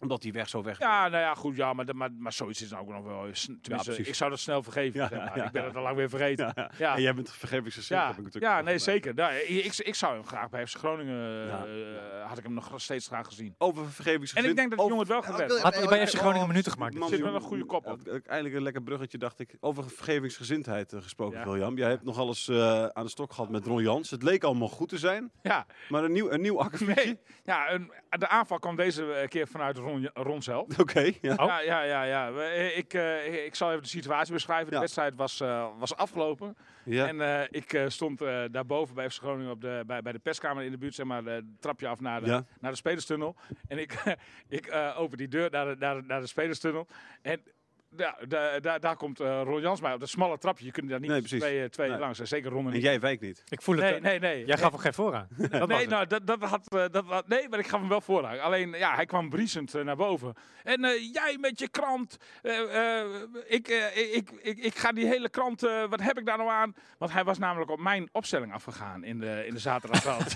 [SPEAKER 3] Omdat die weg zo weg
[SPEAKER 5] Ja, nou ja, goed. Ja, maar, de- maar, maar zoiets is nou ook nog wel. eens- Tenminste,
[SPEAKER 3] precies.
[SPEAKER 5] ik zou dat snel vergeven.
[SPEAKER 3] Ja,
[SPEAKER 5] zeg maar.
[SPEAKER 3] ja,
[SPEAKER 5] Ik ben
[SPEAKER 3] ja.
[SPEAKER 5] het al lang weer vergeten.
[SPEAKER 3] <laughs> Ja, ja.
[SPEAKER 5] Ja.
[SPEAKER 3] En jij bent vergevingsgezind,
[SPEAKER 5] Ja,
[SPEAKER 3] heb ik natuurlijk.
[SPEAKER 5] ja
[SPEAKER 3] nog
[SPEAKER 5] nee,
[SPEAKER 3] gemerkt.
[SPEAKER 5] zeker. Nou, ik, ik- ik zou hem graag bij FC Groningen...
[SPEAKER 3] Ja.
[SPEAKER 5] eh, had ik hem nog steeds graag gezien.
[SPEAKER 3] Over vergevingsgezind.
[SPEAKER 5] En ik denk dat de
[SPEAKER 3] over- Oh,
[SPEAKER 5] jongen het wel gaat redden.
[SPEAKER 4] Had hij bij FC Groningen minuten gemaakt?
[SPEAKER 3] Man,
[SPEAKER 5] zit wel
[SPEAKER 3] jongen,
[SPEAKER 5] een goede kop op.
[SPEAKER 3] eh, Eindelijk een lekker bruggetje, dacht ik. Over vergevingsgezindheid eh, gesproken,
[SPEAKER 5] Ja.
[SPEAKER 3] William. Jij hebt nogal eens eh, aan de stok gehad met Ron Jans. Het leek allemaal goed te zijn,
[SPEAKER 5] Ja,
[SPEAKER 3] maar een nieuw, een nieuw akkefietje.
[SPEAKER 5] nee. ja een- de aanval kwam deze eh, keer vanuit Ron, Ron
[SPEAKER 3] <laughs>
[SPEAKER 5] zelf.
[SPEAKER 3] Oké, ja.
[SPEAKER 4] Oh.
[SPEAKER 5] Ja, ja, ja. ja. We- eh, Ik, eh, ik zal even de situatie beschrijven. De
[SPEAKER 3] Ja.
[SPEAKER 5] wedstrijd was, eh, was afgelopen.
[SPEAKER 3] ja.
[SPEAKER 5] En eh, ik eh, stond eh, daarboven bij FC Groningen op de, bij, bij de perskamer in de buurt, zeg maar, eh, het trapje af naar de,
[SPEAKER 3] Ja.
[SPEAKER 5] naar de spelerstunnel. En ik, <laughs> ik eh, open die deur naar de, naar de, naar de spelerstunnel. En ja, daar- daar- daar komt eh Ron Jans mij op dat smalle trapje. Je kunt daar niet
[SPEAKER 3] Nee,
[SPEAKER 5] met z'n
[SPEAKER 3] precies.
[SPEAKER 5] twee, eh, twee
[SPEAKER 3] Nee.
[SPEAKER 5] langs. En zeker Ron en
[SPEAKER 3] en
[SPEAKER 5] ik.
[SPEAKER 3] jij wijkt niet.
[SPEAKER 4] Ik voel het.
[SPEAKER 5] Nee,
[SPEAKER 4] eh,
[SPEAKER 5] nee,
[SPEAKER 4] <laughs>
[SPEAKER 5] nee.
[SPEAKER 4] Jij gaf hem geen voorrang. Dat was
[SPEAKER 5] nee,
[SPEAKER 4] het.
[SPEAKER 5] nou, dat, dat had, eh, dat, had- nee, maar ik gaf hem wel voorrang. Alleen, ja, hij kwam briesend eh, naar boven. En eh, jij met je krant. eh, eh, ik, eh, ik, ik, ik ga die hele krant, eh, wat heb ik daar nou aan? Want hij was namelijk op mijn opstelling afgegaan in de, in de zaterdagkrant.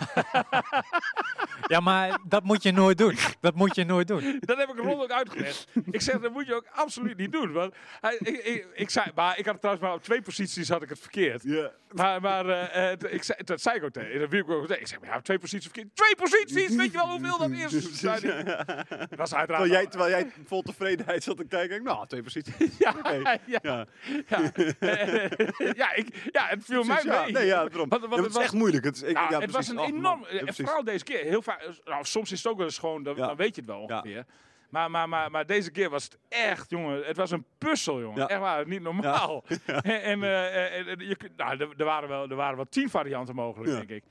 [SPEAKER 4] Ja, maar dat moet je nooit doen. Dat moet je nooit doen.
[SPEAKER 5] <laughs> dat heb ik Ron ook uitgelegd. Ik zeg, dat moet je ook absoluut niet doen. Want hij, ik, ik, ik zei, maar ik had trouwens maar op twee posities had ik het verkeerd.
[SPEAKER 3] Ja.
[SPEAKER 5] Maar, maar eh, eh, t- ik zei, dat zei ik ook tegen. Dat wierp ik ook tegen. Ik zeg, maar ja, twee posities verkeerd. Twee posities! Weet je wel hoeveel dat is? Zei die- Dat was uiteraard...
[SPEAKER 3] Terwijl jij, terwijl jij vol tevredenheid zat te kijken. ik, Nou, twee precies.
[SPEAKER 5] <laughs> Ja,
[SPEAKER 3] Oké.
[SPEAKER 5] ja,
[SPEAKER 3] Ja.
[SPEAKER 5] ja. <laughs> ja, ik, ja, het viel mij
[SPEAKER 3] Precies, ja.
[SPEAKER 5] mee.
[SPEAKER 3] Nee, ja, daarom.
[SPEAKER 5] Want- want
[SPEAKER 3] Ja,
[SPEAKER 5] het
[SPEAKER 3] maar het is
[SPEAKER 5] was-
[SPEAKER 3] echt moeilijk. Het, is- Dus ik,
[SPEAKER 5] Ja,
[SPEAKER 3] ja,
[SPEAKER 5] Nou, het was
[SPEAKER 3] precies.
[SPEAKER 5] een
[SPEAKER 3] Ach, man.
[SPEAKER 5] enorm... eh,
[SPEAKER 3] Ja,
[SPEAKER 5] en
[SPEAKER 3] precies.
[SPEAKER 5] eh, vooral deze keer. Heel vaak, nou, soms is het ook wel eens gewoon... Dan,
[SPEAKER 3] Ja.
[SPEAKER 5] dan weet je het wel
[SPEAKER 3] Ja.
[SPEAKER 5] ongeveer. Maar, maar, maar, maar deze keer was het echt, jongen. Het was een puzzel, jongen.
[SPEAKER 3] Ja.
[SPEAKER 5] Echt waar, niet
[SPEAKER 3] <laughs>
[SPEAKER 5] normaal. En, en, eh, en- en je, kunt- nou, er- er, waren wel, er waren wel tien varianten mogelijk,
[SPEAKER 3] Ja.
[SPEAKER 5] denk ik.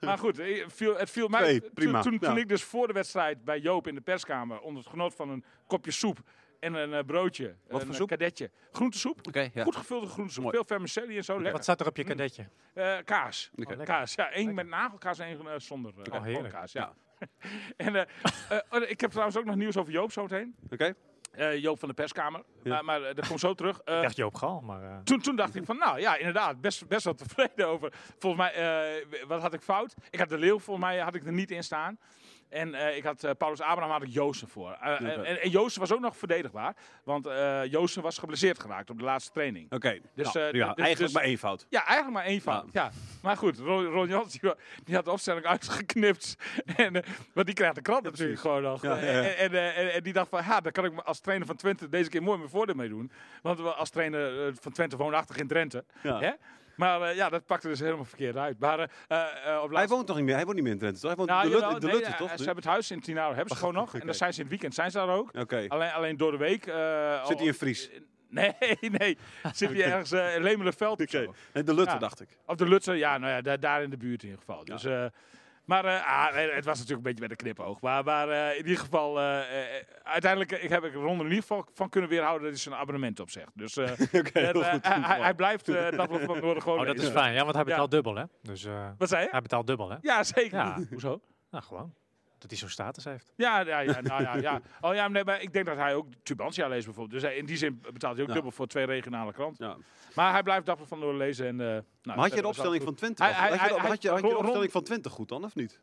[SPEAKER 5] Maar goed, eh, viel, het viel mij...
[SPEAKER 3] Twee,
[SPEAKER 5] toen-
[SPEAKER 3] prima.
[SPEAKER 5] Toen, toen
[SPEAKER 3] Ja.
[SPEAKER 5] ik dus voor de wedstrijd bij Joop in de perskamer... onder het genot van een kopje soep en een eh, broodje.
[SPEAKER 3] Wat
[SPEAKER 5] een
[SPEAKER 3] voor soep?
[SPEAKER 5] kadetje. Groentesoep.
[SPEAKER 3] Oké, ja.
[SPEAKER 5] Goed gevulde groentesoep.
[SPEAKER 3] Mooi.
[SPEAKER 5] Veel vermicelli en zo. Lekker.
[SPEAKER 4] Wat zat er op je kadetje?
[SPEAKER 5] Eh, kaas.
[SPEAKER 3] Oké.
[SPEAKER 4] Oh, lekker.
[SPEAKER 5] kaas. Ja, één met nagelkaas en één eh, zonder eh,
[SPEAKER 4] Oh, heerlijk.
[SPEAKER 5] kaas. Ja. <laughs> en, eh, eh, oh, ik heb trouwens ook nog nieuws over Joop zo meteen.
[SPEAKER 3] Oké?
[SPEAKER 5] Eh, Joop van de perskamer. Maar, maar eh, dat komt zo terug. Eh,
[SPEAKER 4] Ik dacht Joop Gal, maar... eh,
[SPEAKER 5] toen, toen dacht ik van, nou ja, inderdaad, best, best wel tevreden over. Volgens mij, eh, wat had ik fout? Ik had de Leeuw, volgens mij had ik er niet in staan. En eh, ik had eh, Paulus Abraham, had ik Joosten voor. Eh, en, en, en Joosten was ook nog verdedigbaar. Want eh Joosten was geblesseerd geraakt op de laatste training.
[SPEAKER 3] Oké.
[SPEAKER 5] Dus,
[SPEAKER 3] Nou,
[SPEAKER 5] eh,
[SPEAKER 3] prima.
[SPEAKER 5] dit- dit-
[SPEAKER 3] eigenlijk
[SPEAKER 5] dus-
[SPEAKER 3] maar één fout.
[SPEAKER 5] Ja, eigenlijk maar één
[SPEAKER 3] Nou.
[SPEAKER 5] fout. Ja. Maar goed, Ron, Ron Jans die, wa- die had de opstelling uitgeknipt. <laughs> En, eh, want die krijgt de krant natuurlijk gewoon nog.
[SPEAKER 3] Ja, ja, ja.
[SPEAKER 5] En, en, eh, en- en die dacht van, ha, daar kan ik me als trainer van Twente deze keer mooi mijn voordeel mee doen. Want we- als trainer eh, van Twente woonachtig in Drenthe.
[SPEAKER 3] Ja.
[SPEAKER 5] Hè? Maar eh, ja, dat pakte dus helemaal verkeerd uit. Maar eh, eh, eh, op
[SPEAKER 3] Hij
[SPEAKER 5] laatste...
[SPEAKER 3] woont toch niet meer? Hij woont niet meer in Drenthe, toch? Hij woont
[SPEAKER 5] Nou,
[SPEAKER 3] in de, Lut-
[SPEAKER 5] jawel,
[SPEAKER 3] in de
[SPEAKER 5] nee,
[SPEAKER 3] Lutte,
[SPEAKER 5] eh,
[SPEAKER 3] toch?
[SPEAKER 5] Ze hebben het huis in Tinaro, hebben ze gewoon nog. En
[SPEAKER 3] oké.
[SPEAKER 5] dan zijn ze in het weekend, zijn ze daar ook.
[SPEAKER 3] Oké.
[SPEAKER 5] Alleen, alleen door de week... eh,
[SPEAKER 3] Zit hij in
[SPEAKER 5] al-
[SPEAKER 3] Fries?
[SPEAKER 5] Nee, <laughs> nee.
[SPEAKER 3] <laughs>
[SPEAKER 5] Zit hij ergens eh in Lemelenveld of
[SPEAKER 3] Oké.
[SPEAKER 5] zo.
[SPEAKER 3] En de Lutte,
[SPEAKER 5] Ja.
[SPEAKER 3] dacht ik. <laughs>
[SPEAKER 5] Of de Lutsen, ja, nou ja, daar, daar in de buurt in ieder geval. Dus, eh, maar eh, ah, eh, het was natuurlijk een beetje met een knipoog. Maar, maar eh, in ieder geval, eh, eh, eh, uiteindelijk eh, ik heb ik Ron er in ieder geval van kunnen weerhouden dat hij zijn abonnement opzegt. Dus eh,
[SPEAKER 3] Oké,
[SPEAKER 5] het,
[SPEAKER 3] <laughs> heel
[SPEAKER 5] eh,
[SPEAKER 3] goed.
[SPEAKER 5] hij, hij- hij blijft eh Dagblad van het Noorden gewoon...
[SPEAKER 4] oh, dat
[SPEAKER 5] lid.
[SPEAKER 4] is fijn, ja, want hij
[SPEAKER 5] Ja.
[SPEAKER 4] betaalt dubbel, hè? Dus eh,
[SPEAKER 5] Wat zei je?
[SPEAKER 4] hij betaalt dubbel, hè?
[SPEAKER 5] Ja, zeker.
[SPEAKER 4] Ja.
[SPEAKER 5] Hoezo?
[SPEAKER 4] Nou, gewoon. Dat hij zo'n status heeft.
[SPEAKER 5] Ja, ja, ja, nou ja, ja. Oh ja, nee, maar ik denk dat hij ook Tubantia leest bijvoorbeeld. Dus hij- in die zin betaalt hij ook
[SPEAKER 3] Ja.
[SPEAKER 5] dubbel voor twee regionale kranten.
[SPEAKER 3] Ja.
[SPEAKER 5] Maar hij blijft Dagblad van het Noorden lezen. En, eh, nou,
[SPEAKER 3] Maar had
[SPEAKER 5] verder
[SPEAKER 3] je de
[SPEAKER 5] was alles
[SPEAKER 3] opstelling
[SPEAKER 5] goed.
[SPEAKER 3] van Twente?
[SPEAKER 5] Hij-
[SPEAKER 3] af-
[SPEAKER 5] hij-
[SPEAKER 3] had je de-
[SPEAKER 5] hij-
[SPEAKER 3] had je- had je de
[SPEAKER 5] Ron-
[SPEAKER 3] opstelling van Twente goed dan, of niet?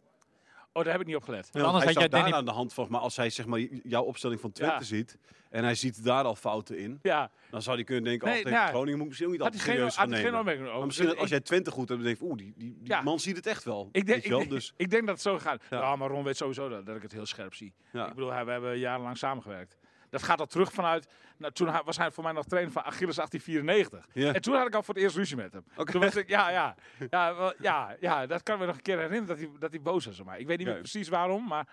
[SPEAKER 5] Oh, daar heb ik niet op gelet.
[SPEAKER 3] Ja, want
[SPEAKER 4] anders
[SPEAKER 3] hij
[SPEAKER 4] had
[SPEAKER 3] staat
[SPEAKER 4] jij
[SPEAKER 3] daar
[SPEAKER 4] Danny-
[SPEAKER 3] aan de hand van. Maar als hij zeg maar, j- jouw opstelling van Twente
[SPEAKER 5] Ja.
[SPEAKER 3] ziet en hij ziet daar al fouten in,
[SPEAKER 5] Ja.
[SPEAKER 3] dan zou hij kunnen denken:
[SPEAKER 5] Nee, nou
[SPEAKER 3] oh, tegen
[SPEAKER 5] ja.
[SPEAKER 3] Groningen moet ik misschien ook niet
[SPEAKER 5] Had
[SPEAKER 3] altijd
[SPEAKER 5] hij geen,
[SPEAKER 3] serieus gaan
[SPEAKER 5] had hij geen
[SPEAKER 3] nemen.
[SPEAKER 5] opmerking over.
[SPEAKER 3] Maar misschien dat
[SPEAKER 5] Dus
[SPEAKER 3] als
[SPEAKER 5] ik-
[SPEAKER 3] jij Twente goed hebt, dan denk je: oeh, die, die, die
[SPEAKER 5] Ja.
[SPEAKER 3] man ziet het echt wel.
[SPEAKER 5] ik
[SPEAKER 3] Weet
[SPEAKER 5] denk,
[SPEAKER 3] je
[SPEAKER 5] ik,
[SPEAKER 3] wel?
[SPEAKER 5] denk- <laughs>
[SPEAKER 3] Dus
[SPEAKER 5] ik denk dat het zo gaat.
[SPEAKER 3] Ja.
[SPEAKER 5] Ja, maar Ron weet sowieso dat, dat ik het heel scherp zie.
[SPEAKER 3] ja.
[SPEAKER 5] Ik bedoel, hij- we hebben jarenlang samengewerkt. Dat gaat al terug vanuit. Nou, toen hij- was hij voor mij nog trainer van Achilles 1894.
[SPEAKER 3] Ja.
[SPEAKER 5] En toen had ik al voor het eerst ruzie met hem.
[SPEAKER 3] Oké.
[SPEAKER 5] Toen was ik, ja, ja, ja, wel- ja, ja, dat kan me nog een keer herinneren dat hij, dat hij boos was op mij. Ik weet niet meer
[SPEAKER 3] Oké.
[SPEAKER 5] precies waarom, maar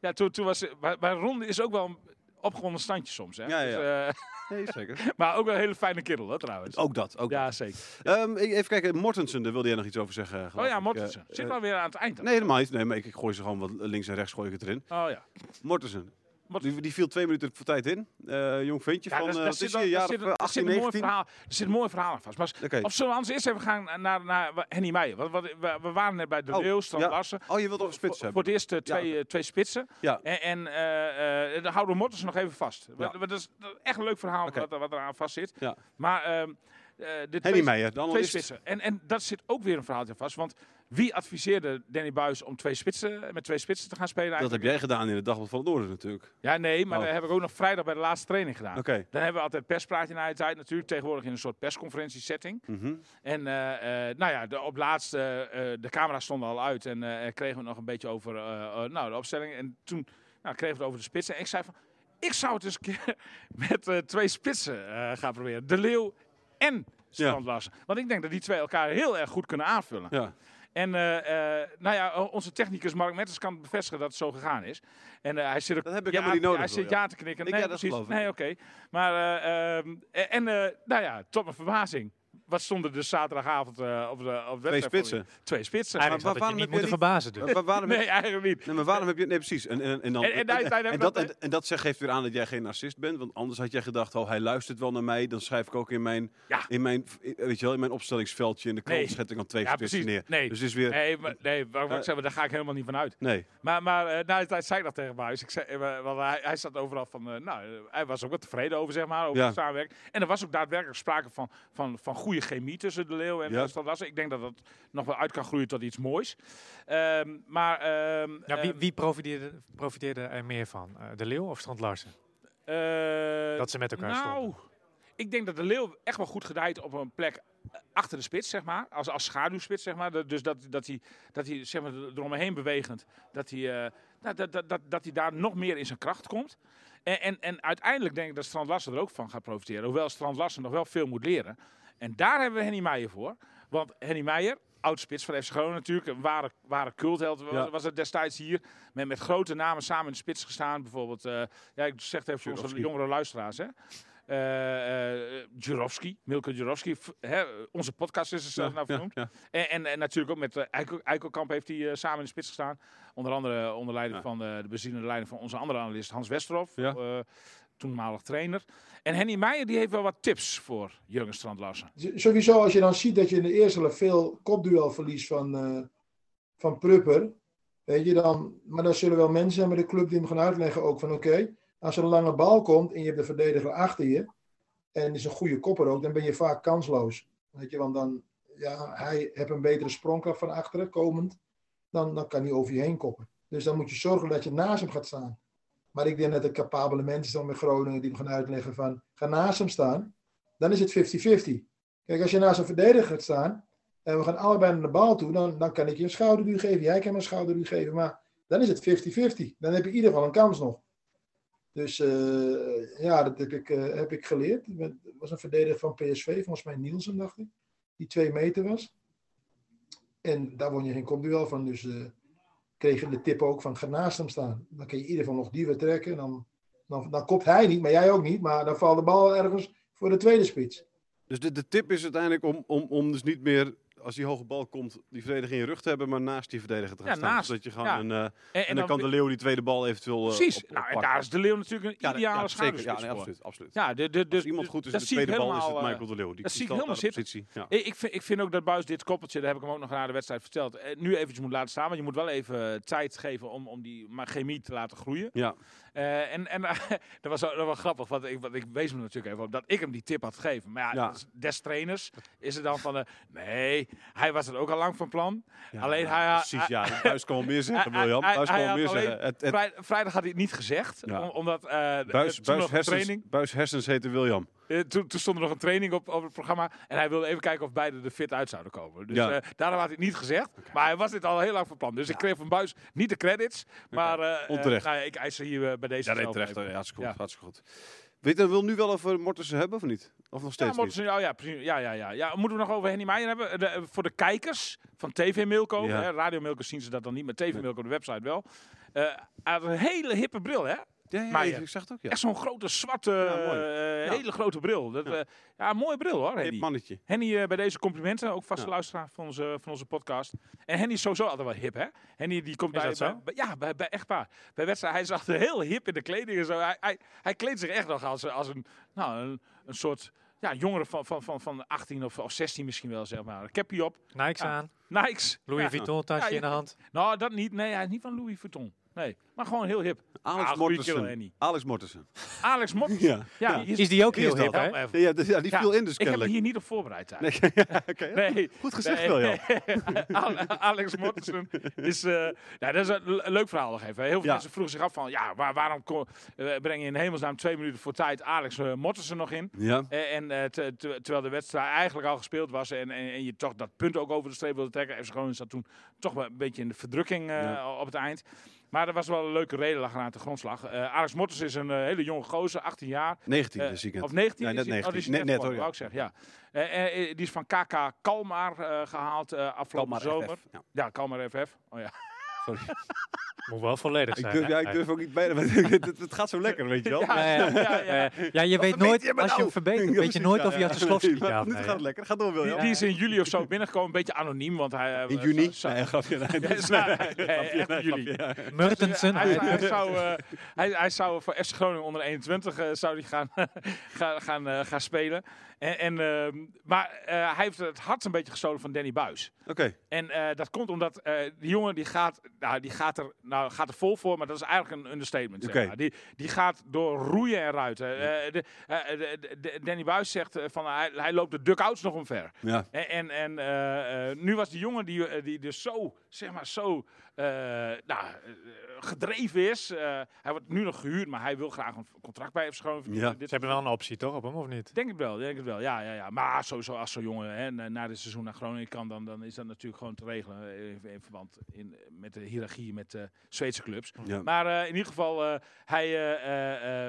[SPEAKER 5] ja, toen, toen was. Maar, maar Ron is ook wel een opgewonden standje soms. Hè?
[SPEAKER 3] Ja, ja,
[SPEAKER 5] Dus, eh, <laughs>
[SPEAKER 3] Nee, zeker.
[SPEAKER 5] maar ook wel een hele fijne kerel, hoor, trouwens.
[SPEAKER 3] Ook dat. Ook
[SPEAKER 5] Ja, zeker.
[SPEAKER 3] dat. Ehm, ik- even kijken, Mortensen, daar wilde jij nog iets over zeggen.
[SPEAKER 5] Oh
[SPEAKER 3] geloof ik.
[SPEAKER 5] ja,
[SPEAKER 3] Eh,
[SPEAKER 5] Mortensen. Zit
[SPEAKER 3] eh,
[SPEAKER 5] wel weer aan het eind. hè?
[SPEAKER 3] Nee, helemaal niet. Nee, maar ik, ik gooi ze gewoon wat links en rechts gooi ik het erin.
[SPEAKER 5] Oh ja.
[SPEAKER 3] Mortensen.
[SPEAKER 5] Mortensen.
[SPEAKER 3] Die, die viel twee minuten voor tijd in. Eh, jong ventje
[SPEAKER 5] Ja,
[SPEAKER 3] van,
[SPEAKER 5] daar-
[SPEAKER 3] eh,
[SPEAKER 5] daar
[SPEAKER 3] wat
[SPEAKER 5] zit
[SPEAKER 3] is
[SPEAKER 5] wel-
[SPEAKER 3] hij, een
[SPEAKER 5] daar
[SPEAKER 3] jaar
[SPEAKER 5] zit-
[SPEAKER 3] of, eh,
[SPEAKER 5] daar zit
[SPEAKER 3] 18,
[SPEAKER 5] een mooi
[SPEAKER 3] 19?
[SPEAKER 5] verhaal- Er zit een mooi verhaal aan vast. Maar als-
[SPEAKER 3] Oké.
[SPEAKER 5] of zullen we anders eerst even gaan naar, naar, naar Henny Meijer? Want, wat- we, we waren net bij De
[SPEAKER 3] Oh,
[SPEAKER 5] Leeuw, Strand
[SPEAKER 3] ja.
[SPEAKER 5] Larsen.
[SPEAKER 3] Oh, je wilt over spits
[SPEAKER 5] Voor,
[SPEAKER 3] hebben.
[SPEAKER 5] voor het eerst eh, twee,
[SPEAKER 3] oké.
[SPEAKER 5] eh, twee spitsen.
[SPEAKER 3] Ja.
[SPEAKER 5] En, en eh, eh, dan houden we Mortensen nog even vast. Want-
[SPEAKER 3] Ja.
[SPEAKER 5] want Dat is dat is echt een leuk verhaal
[SPEAKER 3] Oké.
[SPEAKER 5] wat, er- wat eraan vast zit.
[SPEAKER 3] Ja.
[SPEAKER 5] Maar ehm, eh, de
[SPEAKER 3] Henny
[SPEAKER 5] twee,
[SPEAKER 3] Meijer, dan
[SPEAKER 5] twee
[SPEAKER 3] is het-
[SPEAKER 5] spitsen. En, en dat zit ook weer een verhaaltje vast. Want wie adviseerde Danny Buis om twee spitsen, met twee spitsen te gaan spelen?
[SPEAKER 3] Dat heb
[SPEAKER 5] eigenlijk?
[SPEAKER 3] jij gedaan in het Dagblad van het Noorden natuurlijk.
[SPEAKER 5] Ja, nee, maar
[SPEAKER 3] Oh.
[SPEAKER 5] dat heb ik ook nog vrijdag bij de laatste training gedaan.
[SPEAKER 3] Oké.
[SPEAKER 5] Dan hebben we altijd perspraatje na de tijd natuurlijk. Tegenwoordig in een soort persconferentie setting.
[SPEAKER 3] Mhm.
[SPEAKER 5] En eh, eh, nou ja, de, op laatst, eh, eh, de camera's stonden al uit. En eh, kregen we het nog een beetje over eh, eh, nou, de opstelling. En toen nou, kregen we het over de spitsen. En ik zei van, ik zou het eens een keer <laughs> met eh, twee spitsen eh, gaan proberen. De Leeuw en Strand Larsen. Want ik denk dat die twee elkaar heel erg goed kunnen aanvullen.
[SPEAKER 3] Ja.
[SPEAKER 5] En eh, eh, nou ja, o- onze technicus Mark Metters kan bevestigen dat het zo gegaan is. En eh, hij zit ook
[SPEAKER 3] Dat heb ik
[SPEAKER 5] ja,
[SPEAKER 3] helemaal niet nodig.
[SPEAKER 5] Hij
[SPEAKER 3] wil
[SPEAKER 5] zit
[SPEAKER 3] je.
[SPEAKER 5] ja te knikken.
[SPEAKER 3] Ik-
[SPEAKER 5] Nee,
[SPEAKER 3] ja, dat
[SPEAKER 5] precies.
[SPEAKER 3] geloof ik.
[SPEAKER 5] Nee, oké. Maar, eh, ehm, en, en, eh, nou ja, tot mijn verbazing. Wat stonden dus zaterdagavond eh, op de, op de
[SPEAKER 3] Twee
[SPEAKER 5] wedstrijd voor
[SPEAKER 3] spitsen.
[SPEAKER 5] je? Twee spitsen.
[SPEAKER 4] Eigenlijk
[SPEAKER 3] maar
[SPEAKER 4] zou dat je
[SPEAKER 3] waarom
[SPEAKER 4] niet
[SPEAKER 3] heb
[SPEAKER 4] moeten
[SPEAKER 3] jij
[SPEAKER 4] verbazen, dus.
[SPEAKER 3] Maar waar- waarom heb-
[SPEAKER 5] nee, eigenlijk niet.
[SPEAKER 3] Nee, maar waarom heb je... Nee, precies. En, en, en, dan,
[SPEAKER 5] En- en daar- daar hebben we
[SPEAKER 3] dat,
[SPEAKER 5] dat-
[SPEAKER 3] en, en dat zeg- geeft weer aan dat jij geen narcist bent. Want anders had jij gedacht, oh, hij luistert wel naar mij. Dan schrijf ik ook in mijn,
[SPEAKER 5] Ja.
[SPEAKER 3] in mijn, in- weet je wel, in mijn opstellingsveldje in de krant
[SPEAKER 5] Nee.
[SPEAKER 3] schet ik dan twee
[SPEAKER 5] Ja,
[SPEAKER 3] spitsen
[SPEAKER 5] precies.
[SPEAKER 3] neer.
[SPEAKER 5] Nee.
[SPEAKER 3] Dus het is weer... Nee.
[SPEAKER 5] Nee, maar, nee waar, waar ik
[SPEAKER 3] Eh.
[SPEAKER 5] zeg, maar daar ga ik helemaal niet van uit. Maar, maar eh, na de tijd zei ik dat tegen Buis. Ik zei, eh, wa- want hij, hij zat overal van. eh, nou, eh, hij was ook wat tevreden over, zeg maar, over
[SPEAKER 3] Ja.
[SPEAKER 5] het samenwerken. En er was ook daadwerkelijk sprake van, van, van goede chemie tussen de Leeuw en
[SPEAKER 3] Ja.
[SPEAKER 5] ja. Ik denk dat dat nog wel uit kan groeien tot iets moois. Ehm, maar. ehm,
[SPEAKER 4] Ja, Nou, wie,
[SPEAKER 5] ehm,
[SPEAKER 4] wie profiteerde, profiteerde er meer van? Eh, de Leeuw of Strand Larsen?
[SPEAKER 5] eh,
[SPEAKER 4] Dat ze met elkaar stonden.
[SPEAKER 5] Nou, ik denk dat de Leeuw echt wel goed gedijt op een plek eh, achter de spits, zeg maar. Als, als schaduwspits, zeg maar. Dat- Dus dat, dat hij, dat hij zeg maar, er- eromheen bewegend, dat hij, eh, nou, dat, dat, dat, dat hij daar nog meer in zijn kracht komt. En, en, en uiteindelijk denk ik dat Strand Larsen er ook van gaat profiteren. Hoewel Strand Larsen nog wel veel moet leren. En daar hebben we Henny Meijer voor. Want Henny Meijer, oud-spits van FC Groningen natuurlijk. Een ware, ware cultheld wa-
[SPEAKER 3] Ja.
[SPEAKER 5] was het destijds hier. Met, met grote namen samen in de spits gestaan. Bijvoorbeeld, eh, ja, ik zeg het even voor onze
[SPEAKER 3] Jurovski.
[SPEAKER 5] jongere luisteraars, hè. Eh, eh, Jurovski, Milko Jurovski, v- hè, onze podcast is er zelf naar vernoemd.
[SPEAKER 3] ja.
[SPEAKER 5] En, en, en natuurlijk ook met eh, Eiko- Eikelkamp heeft hij eh, samen in de spits gestaan. Onder andere onder leiding
[SPEAKER 3] Ja.
[SPEAKER 5] van eh, de bezielende leiding van onze andere analist Hans Westerhof.
[SPEAKER 3] Ja.
[SPEAKER 5] eh, toenmalig trainer. En Henny Meijer die heeft wel wat tips voor Jurgen Strand Larsen.
[SPEAKER 6] Z- Sowieso, als je dan ziet dat je in de eerste helft veel kopduelverlies van, eh, van Prupper. Weet je dan, maar dan zullen wel mensen zijn bij de club die hem gaan uitleggen ook van oké, als er een lange bal komt en je hebt de verdediger achter je. En is een goede kopper ook, dan ben je vaak kansloos. Weet je, want dan, ja, hij heeft een betere sprongkracht van achteren komend. Dan, dan kan hij over je heen koppen. Dus dan moet je zorgen dat je naast hem gaat staan. Maar ik denk dat er capabele mensen zijn bij Groningen die hem gaan uitleggen van ga naast hem staan. Dan is het 50-50. Kijk, als je naast een verdediger gaat staan en we gaan allebei naar de bal toe, dan, dan kan ik je een schouderduw geven, jij kan me een schouderduw geven, maar dan is het 50-50. Dan heb je in ieder geval een kans nog. Dus eh, ja, dat heb ik, eh, heb ik geleerd. Ik ben- Er was een verdediger van PSV, volgens mij Nielsen, dacht ik, die twee meter was. En daar won je geen kopduel van, dus eh kreeg je de tip ook van ga naast hem staan. Dan kun je in ieder geval nog die weer trekken. Dan, dan, dan kopt hij niet, maar jij ook niet, maar dan valt de bal ergens voor de tweede spits.
[SPEAKER 3] Dus de, de tip is uiteindelijk om, om, om dus niet meer, als die hoge bal komt, die verdediger in je rug te hebben, maar naast die verdediger te gaan
[SPEAKER 5] Ja,
[SPEAKER 3] staan.
[SPEAKER 5] naast.
[SPEAKER 3] Zodat je gewoon
[SPEAKER 5] Ja.
[SPEAKER 3] een, eh, en,
[SPEAKER 5] En,
[SPEAKER 3] dan, kan de Leeuw die tweede bal eventueel eh,
[SPEAKER 5] Precies.
[SPEAKER 3] op- op
[SPEAKER 5] nou, en
[SPEAKER 3] pakken.
[SPEAKER 5] daar is de Leeuw natuurlijk een
[SPEAKER 3] Ja,
[SPEAKER 5] ideale
[SPEAKER 3] ja, zeker. Ja,
[SPEAKER 5] schaduwspits
[SPEAKER 3] nee,
[SPEAKER 5] voor.
[SPEAKER 3] absoluut, absoluut.
[SPEAKER 5] Ja, de, de, dus
[SPEAKER 3] Als iemand goed is in
[SPEAKER 5] dat
[SPEAKER 3] de
[SPEAKER 5] zie ik
[SPEAKER 3] tweede bal, is het
[SPEAKER 5] helemaal, eh,
[SPEAKER 3] Michael de Leeuw. Die
[SPEAKER 5] dat zie ik
[SPEAKER 3] staat
[SPEAKER 5] helemaal
[SPEAKER 3] daar op
[SPEAKER 5] zitten.
[SPEAKER 3] positie. Ja.
[SPEAKER 5] Ik, ik vind, ik vind ook dat Buis dit koppeltje, daar heb ik hem ook nog na de wedstrijd verteld, eh, nu eventjes moet laten staan. Want je moet wel even eh, tijd geven om, om die maar chemie te laten groeien.
[SPEAKER 3] Ja.
[SPEAKER 5] Eh, en <laughs> en eh, dat, was, wel- dat was grappig, want ik, want ik wees me natuurlijk even op dat ik hem die tip had gegeven. Maar ja,
[SPEAKER 3] Ja.
[SPEAKER 5] dat is- des trainers is het dan van, eh, nee, hij was het ook al lang van plan.
[SPEAKER 3] Ja,
[SPEAKER 5] Alleen
[SPEAKER 3] ja,
[SPEAKER 5] hij had-
[SPEAKER 3] Precies, ja. Buis kan wel meer zeggen,
[SPEAKER 5] hij-
[SPEAKER 3] William.
[SPEAKER 5] hij-
[SPEAKER 3] Buis kan
[SPEAKER 5] hij
[SPEAKER 3] wel meer
[SPEAKER 5] had alleen
[SPEAKER 3] zeggen. Het, het,
[SPEAKER 5] Vrij- vrijdag had hij het niet gezegd,
[SPEAKER 3] Ja.
[SPEAKER 5] om- omdat eh, eh,
[SPEAKER 3] buis,
[SPEAKER 5] toen
[SPEAKER 3] buis,
[SPEAKER 5] nog een
[SPEAKER 3] hersens,
[SPEAKER 5] training...
[SPEAKER 3] buis hersens heette William.
[SPEAKER 5] Eh, toen, toen stond er nog een training op, op het programma. En hij wilde even kijken of beide er fit uit zouden komen. Dus
[SPEAKER 3] Ja.
[SPEAKER 5] eh, daarom had hij het niet gezegd. Maar hij was dit al heel lang van plan. Dus ik kreeg van Buis niet de credits. Maar eh,
[SPEAKER 3] Onterecht.
[SPEAKER 5] eh, nou ja, ik eis ze hier eh, bij deze
[SPEAKER 3] Ja, nee,
[SPEAKER 5] zelf
[SPEAKER 3] terecht. oh
[SPEAKER 5] even.
[SPEAKER 3] Ja, hartstikke goed.
[SPEAKER 5] Ja.
[SPEAKER 3] Hartstikke goed. Weet je, wil nu wel over Mortensen hebben of niet? Of nog
[SPEAKER 5] Ja,
[SPEAKER 3] steeds niet?
[SPEAKER 5] Mortensen, oh ja, precies. Ja, ja, ja, ja. Moeten we nog over Henny Meijer hebben? Eh, de- eh, voor de kijkers van TV Milko.
[SPEAKER 3] Ja.
[SPEAKER 5] Hè, Radio Milko zien ze dat dan niet, maar TV Milko, de website wel. Eh, hij had een hele hippe bril, hè?
[SPEAKER 3] Ja, ja,
[SPEAKER 5] Meijer.
[SPEAKER 3] ik zeg het ook, ja.
[SPEAKER 5] Echt zo'n grote, zwarte,
[SPEAKER 3] Ja, mooi.
[SPEAKER 5] eh,
[SPEAKER 3] Ja.
[SPEAKER 5] hele grote bril. Dat, eh,
[SPEAKER 3] Ja.
[SPEAKER 5] ja. een mooie bril hoor,
[SPEAKER 3] Hip
[SPEAKER 5] Henny.
[SPEAKER 3] mannetje.
[SPEAKER 5] Henny, eh, bij deze complimenten, ook vaste
[SPEAKER 3] Ja.
[SPEAKER 5] luisteraar van onze, van onze podcast. En Henny is sowieso altijd wel hip, hè? Henny die komt
[SPEAKER 4] Is
[SPEAKER 5] bij,
[SPEAKER 4] dat zo?
[SPEAKER 5] bij- ja, bij, bij echtpaar. Bij wedstrijd, hij is altijd heel hip in de kleding en zo. Hij, hij, hij kleedt zich echt nog als, als een, nou, een, een soort ja, jongere van, van, van, van 18 of, of 16 misschien wel, zeg maar. Een Capje op,
[SPEAKER 4] Nikes
[SPEAKER 5] Ja.
[SPEAKER 4] aan,
[SPEAKER 5] Nikes.
[SPEAKER 4] Louis
[SPEAKER 5] Ja.
[SPEAKER 4] Vuitton
[SPEAKER 5] Ja,
[SPEAKER 4] tasje
[SPEAKER 5] je-
[SPEAKER 4] in de hand.
[SPEAKER 5] Nou, dat niet. Nee, hij is niet van Louis Vuitton. Nee, maar gewoon heel hip.
[SPEAKER 3] Alex
[SPEAKER 5] Ah, goeie kerel,
[SPEAKER 3] Mortensen.
[SPEAKER 5] Henny.
[SPEAKER 3] Alex Mortensen.
[SPEAKER 5] Alex Mop. Ja,
[SPEAKER 3] Ja. Ja.
[SPEAKER 5] hier
[SPEAKER 4] Is die ook
[SPEAKER 3] Wie is
[SPEAKER 4] heel hip,
[SPEAKER 3] dat?
[SPEAKER 4] hè?
[SPEAKER 5] Help me even.
[SPEAKER 3] Ja, dus- ja, die
[SPEAKER 5] Ja,
[SPEAKER 3] viel in dus
[SPEAKER 5] Ik heb me
[SPEAKER 3] kennelijk.
[SPEAKER 5] hier niet op voorbereid eigenlijk.
[SPEAKER 3] Nee, <laughs> ja, oké.
[SPEAKER 5] Nee.
[SPEAKER 3] Goed gezegd,
[SPEAKER 5] Nee.
[SPEAKER 3] William.
[SPEAKER 5] <laughs> Ale- Alex Mortensen is... eh, nou, dat is een le- leuk verhaal nog even. Heel veel
[SPEAKER 3] Ja.
[SPEAKER 5] mensen vroegen zich af van... Ja, waar- waarom ko- eh, breng je in hemelsnaam twee minuten voor tijd Alex eh, Mortensen nog in?
[SPEAKER 3] Ja.
[SPEAKER 5] Eh, en eh, te- te- terwijl de wedstrijd eigenlijk al gespeeld was en, en, en je toch dat punt ook over de streep wilde trekken. FC Groningen zat toen toch wel een beetje in de verdrukking eh,
[SPEAKER 3] Ja.
[SPEAKER 5] op het eind. Maar er was wel een leuke reden lag aan de grondslag. Eh, Alex Mortensen is een eh, hele jonge gozer, 18 jaar.
[SPEAKER 3] 19
[SPEAKER 5] Eh,
[SPEAKER 3] dit weekend.
[SPEAKER 5] Of 19?
[SPEAKER 3] Ja, net
[SPEAKER 5] is hij- oh, die
[SPEAKER 3] 19.
[SPEAKER 5] is
[SPEAKER 3] Net- net
[SPEAKER 5] geworden,
[SPEAKER 3] hoor, ja.
[SPEAKER 5] wou ik zeggen, ja. Eh, eh, eh, die is van KK Kalmar eh, gehaald eh, afgelopen
[SPEAKER 3] Kalmar
[SPEAKER 5] zomer.
[SPEAKER 3] FF, ja.
[SPEAKER 5] Ja, Kalmar FF. Oh, ja.
[SPEAKER 4] Moet wel volledig
[SPEAKER 3] Ik
[SPEAKER 4] zijn.
[SPEAKER 3] durf,
[SPEAKER 4] hè?
[SPEAKER 3] ja, ik durf ook niet bijna. <laughs>
[SPEAKER 5] <laughs>
[SPEAKER 3] maar Het, het- het gaat zo lekker, weet je wel.
[SPEAKER 4] Ja, ja, ja, ja. Ja, je weet nooit,
[SPEAKER 3] Verbeter me
[SPEAKER 4] als je hem
[SPEAKER 3] nou. <laughs>
[SPEAKER 4] verbetert,
[SPEAKER 3] Ja,
[SPEAKER 4] weet
[SPEAKER 3] precies,
[SPEAKER 4] je nooit
[SPEAKER 3] ja,
[SPEAKER 4] of je
[SPEAKER 3] ja.
[SPEAKER 4] uit de slof schiet.
[SPEAKER 3] Nee,
[SPEAKER 4] Ja, of
[SPEAKER 3] nu
[SPEAKER 4] nee,
[SPEAKER 3] gaat
[SPEAKER 4] hè?
[SPEAKER 3] het lekker. Ga door,
[SPEAKER 5] Die,
[SPEAKER 3] William.
[SPEAKER 5] die is in juli of zo binnengekomen. Een beetje anoniem, want hij... eh,
[SPEAKER 3] Oh, In
[SPEAKER 5] eh,
[SPEAKER 3] juni?
[SPEAKER 5] zou-
[SPEAKER 3] Nee, grapje.
[SPEAKER 5] <laughs>
[SPEAKER 3] Nee, dat is-
[SPEAKER 5] zou-
[SPEAKER 3] nee,
[SPEAKER 5] nee,
[SPEAKER 3] grapje,
[SPEAKER 5] echt
[SPEAKER 3] nee,
[SPEAKER 5] in juli.
[SPEAKER 3] grapje, ja.
[SPEAKER 4] Mertensen.
[SPEAKER 5] hij, zou- hij zou, eh, hij, hij zou voor FC Groningen onder 21 eh, zou die gaan, <laughs> gaan, gaan, eh, gaan spelen. En, en, ehm, maar eh, hij heeft het hart een beetje gestolen van Danny Buis.
[SPEAKER 3] Oké.
[SPEAKER 5] En eh, dat komt omdat eh, die jongen die gaat, nou, die gaat, er, nou, gaat er vol voor, maar dat is eigenlijk een understatement. Zeg
[SPEAKER 3] Oké.
[SPEAKER 5] maar. die, die gaat door roeien en ruiten. Eh, de, eh, de- de- de- Danny Buis zegt eh, van hij, hij loopt de duckouts nog omver.
[SPEAKER 3] Ja.
[SPEAKER 5] En, en, en eh, eh, nu was die jongen die, eh, die dus zo, zeg maar, zo eh, nou, eh, gedreven is. eh, hij wordt nu nog gehuurd, maar hij wil graag een contract bij FC Groningen.
[SPEAKER 3] Ja.
[SPEAKER 5] Dit-
[SPEAKER 4] Ze hebben wel een optie toch op hem, of niet?
[SPEAKER 5] Denk het wel, denk het wel. Ja, ja, ja. Maar sowieso als zo'n jongen hè, na, na dit seizoen naar Groningen kan, dan, dan is dat natuurlijk gewoon te regelen eh, in, in verband in, met de hiërarchie met eh Zweedse clubs.
[SPEAKER 3] Ja.
[SPEAKER 5] Maar eh, in ieder geval, eh, hij, eh, eh,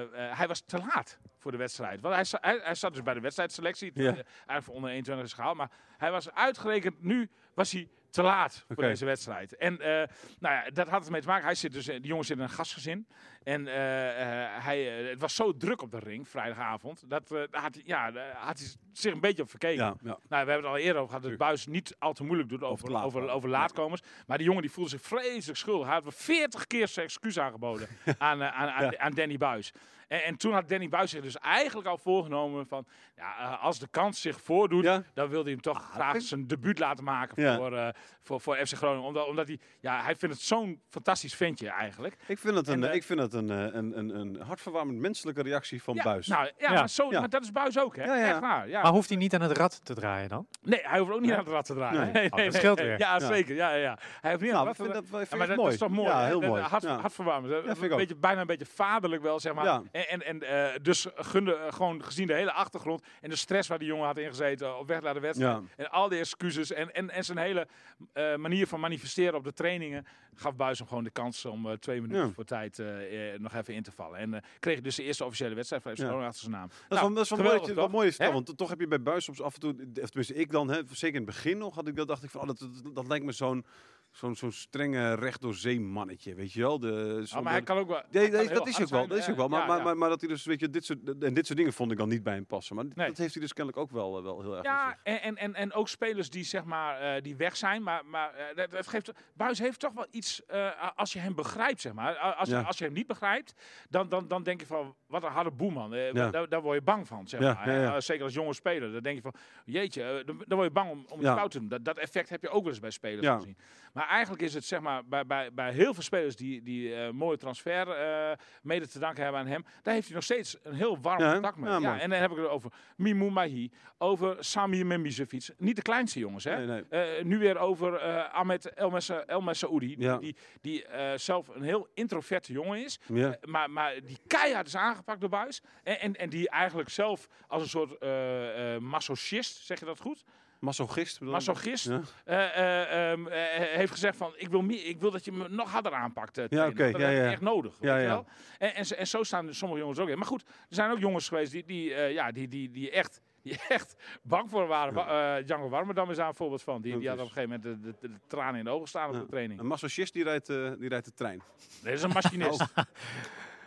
[SPEAKER 5] eh, eh, hij was te laat. voor de wedstrijd. Want hij, za- hij, hij zat dus bij de wedstrijdselectie,
[SPEAKER 3] Ja.
[SPEAKER 5] terwijl hij eigenlijk voor onder 21 is gehaald. Maar hij was uitgerekend, nu was hij te laat voor
[SPEAKER 3] Oké.
[SPEAKER 5] deze wedstrijd. En eh, nou ja, dat had het mee te maken. Hij zit dus, eh, die jongen zit in een gastgezin. En eh, eh, hij, eh, het was zo druk op de ring vrijdagavond, dat eh, daar had, hij, ja, daar had hij zich een beetje op verkeken.
[SPEAKER 3] Ja, ja.
[SPEAKER 5] Nou, we hebben het al eerder over gehad. Dat Buis niet al te moeilijk doet
[SPEAKER 3] Over
[SPEAKER 5] over,
[SPEAKER 3] de
[SPEAKER 5] over,
[SPEAKER 3] laatkomers.
[SPEAKER 5] over, laatkomers. Maar die jongen die voelde zich vreselijk schuldig. Hij had wel 40 keer zijn
[SPEAKER 3] <laughs>
[SPEAKER 5] excuus aangeboden aan, eh, aan, aan, aan Danny Buis. En, en toen had Danny Buis zich dus eigenlijk al voorgenomen van... Ja, eh, als de kans zich voordoet,
[SPEAKER 3] Ja.
[SPEAKER 5] dan wilde hij hem toch graag
[SPEAKER 3] vind-
[SPEAKER 5] zijn debuut laten maken
[SPEAKER 3] Ja.
[SPEAKER 5] voor, eh, voor, voor FC Groningen. Omdat, omdat hij, ja, hij vindt het zo'n fantastisch ventje eigenlijk.
[SPEAKER 3] Ik vind dat een,
[SPEAKER 5] En, eh,
[SPEAKER 3] ik vind dat een, eh, een, een, een hartverwarmend menselijke reactie van
[SPEAKER 5] ja,
[SPEAKER 3] Buis.
[SPEAKER 5] Nou, ja,
[SPEAKER 4] Ja.
[SPEAKER 5] Maar, zo,
[SPEAKER 3] Ja.
[SPEAKER 5] maar dat is Buis ook, hè?
[SPEAKER 3] Ja, ja.
[SPEAKER 5] Echt waar, ja.
[SPEAKER 4] Maar hoeft hij niet aan het rad te draaien dan?
[SPEAKER 5] Nee, hij hoeft ook niet aan het rad te draaien.
[SPEAKER 3] Nee.
[SPEAKER 5] Nee, nee,
[SPEAKER 4] Oh, dat
[SPEAKER 5] nee, <laughs>
[SPEAKER 4] scheelt
[SPEAKER 5] nee.
[SPEAKER 4] weer.
[SPEAKER 5] Ja,
[SPEAKER 3] Ja.
[SPEAKER 5] zeker. Ja, ja, ja. Hij heeft niet aan
[SPEAKER 3] Nou,
[SPEAKER 5] het rad
[SPEAKER 3] we vinden
[SPEAKER 5] te
[SPEAKER 3] dat, we-
[SPEAKER 5] Ja,
[SPEAKER 3] vind
[SPEAKER 5] maar
[SPEAKER 3] ik
[SPEAKER 5] dat,
[SPEAKER 3] mooi.
[SPEAKER 5] dat is toch mooi?
[SPEAKER 3] Ja,
[SPEAKER 5] hè?
[SPEAKER 3] heel
[SPEAKER 5] Dat-
[SPEAKER 3] mooi.
[SPEAKER 5] Hart,
[SPEAKER 3] Ja.
[SPEAKER 5] Hartverwarmend. hè?
[SPEAKER 3] Ja, vind ik
[SPEAKER 5] een
[SPEAKER 3] ook.
[SPEAKER 5] beetje, bijna een beetje vaderlijk wel, zeg maar.
[SPEAKER 3] Ja.
[SPEAKER 5] En, en, en eh, dus gunde eh, gewoon gezien de hele achtergrond en de stress waar die jongen had ingezeten op weg naar de wedstrijd.
[SPEAKER 3] Ja.
[SPEAKER 5] En al die excuses en, en, en zijn hele eh, manier van manifesteren op de trainingen gaf Buis hem gewoon de kans om eh, twee minuten
[SPEAKER 3] Ja.
[SPEAKER 5] voor tijd eh, eh, nog even in te vallen. En eh, kreeg dus de eerste officiële wedstrijd van FC
[SPEAKER 3] Ja.
[SPEAKER 5] Groningen achter zijn naam. Nou,
[SPEAKER 3] Dat is, wel, dat is wel mooi, dat je- wel mooi is het wel,
[SPEAKER 5] Hè?
[SPEAKER 3] want toch heb je bij Buis soms af en toe, of tenminste ik dan, hè, zeker in het begin nog, had ik dat, dacht ik van, oh, dat, dat, dat lijkt me zo'n zo'n zo'n strenge recht door zee mannetje, weet je wel? De,
[SPEAKER 5] Oh, maar hij kan ook wel.
[SPEAKER 3] Nee,
[SPEAKER 5] hij
[SPEAKER 3] nee,
[SPEAKER 5] kan heel
[SPEAKER 3] dat is
[SPEAKER 5] hard
[SPEAKER 3] ook wel,
[SPEAKER 5] zijn,
[SPEAKER 3] dat is
[SPEAKER 5] eh,
[SPEAKER 3] ook wel. Maar,
[SPEAKER 5] ja,
[SPEAKER 3] maar,
[SPEAKER 5] ja.
[SPEAKER 3] maar, maar dat hij dus, weet je, dit soort, en dit soort dingen vond ik dan niet bij hem passen. Maar
[SPEAKER 5] Nee.
[SPEAKER 3] dat heeft hij dus kennelijk ook wel, eh, wel heel erg. in
[SPEAKER 5] Ja,
[SPEAKER 3] zich.
[SPEAKER 5] en, en, en, en ook spelers die, zeg maar, eh, die weg zijn. Maar, maar eh, dat, dat geeft, Buis heeft toch wel iets, eh, a- als je hem begrijpt, zeg maar. A- Als,
[SPEAKER 3] Ja.
[SPEAKER 5] als je hem niet begrijpt, dan, dan, dan denk je van, wat een harde boeman. Eh,
[SPEAKER 3] Ja.
[SPEAKER 5] daar, daar word je bang van, zeg
[SPEAKER 3] Ja,
[SPEAKER 5] maar.
[SPEAKER 3] ja, ja.
[SPEAKER 5] Eh, zeker als jonge speler. Dan denk je van, jeetje, eh, dan, dan word je bang om, om
[SPEAKER 3] Ja.
[SPEAKER 5] het fout te doen. Dat, dat effect heb je ook wel eens bij spelers
[SPEAKER 3] Ja.
[SPEAKER 5] gezien. Maar eigenlijk is het, zeg maar, bij, bij, bij heel veel spelers die, die eh, mooie transfer eh, mede te danken hebben aan hem, daar heeft hij nog steeds een heel warm
[SPEAKER 3] Ja,
[SPEAKER 5] contact mee.
[SPEAKER 3] ja,
[SPEAKER 5] Ja,
[SPEAKER 3] mooi.
[SPEAKER 5] en dan heb ik het over Mimou Mahi, over Sami Memisevic. Niet de kleinste jongens, hè?
[SPEAKER 3] Nee, nee.
[SPEAKER 5] Eh, nu weer over eh, Ahmed El Messa- El Messaoudi, die-
[SPEAKER 3] Ja.
[SPEAKER 5] die, die eh, zelf een heel introverte jongen is.
[SPEAKER 3] Ja.
[SPEAKER 5] Eh, maar, maar die keihard is aangepakt door Buis. En, en, en die eigenlijk zelf als een soort eh, eh, masochist, zeg je dat goed?
[SPEAKER 3] Masochist. bedoel ik?
[SPEAKER 5] Masochist
[SPEAKER 3] Ja.
[SPEAKER 5] eh, eh, ehm, eh, heeft gezegd van ik wil, meer, ik wil dat je me nog harder aanpakt. eh, trainer.
[SPEAKER 3] oké,
[SPEAKER 5] Dat
[SPEAKER 3] ja,
[SPEAKER 5] heb je
[SPEAKER 3] ja.
[SPEAKER 5] echt nodig.
[SPEAKER 3] Ja,
[SPEAKER 5] weet je
[SPEAKER 3] ja.
[SPEAKER 5] wel? En, en, zo- en zo staan sommige jongens ook in. Maar goed, er zijn ook jongens geweest die, die, eh, ja, die, die, die echt... Die <laughs> echt bang voor waren. Wa- eh, Django Warmerdam is daar een voorbeeld van. Die,
[SPEAKER 3] Dat
[SPEAKER 5] die had op
[SPEAKER 3] is-
[SPEAKER 5] een gegeven moment de, de, de tranen in de ogen staan op
[SPEAKER 3] Ja.
[SPEAKER 5] de training.
[SPEAKER 3] Een masochist die rijdt, eh, die rijdt de trein.
[SPEAKER 5] Nee, dat is een
[SPEAKER 3] <laughs>
[SPEAKER 5] machinist.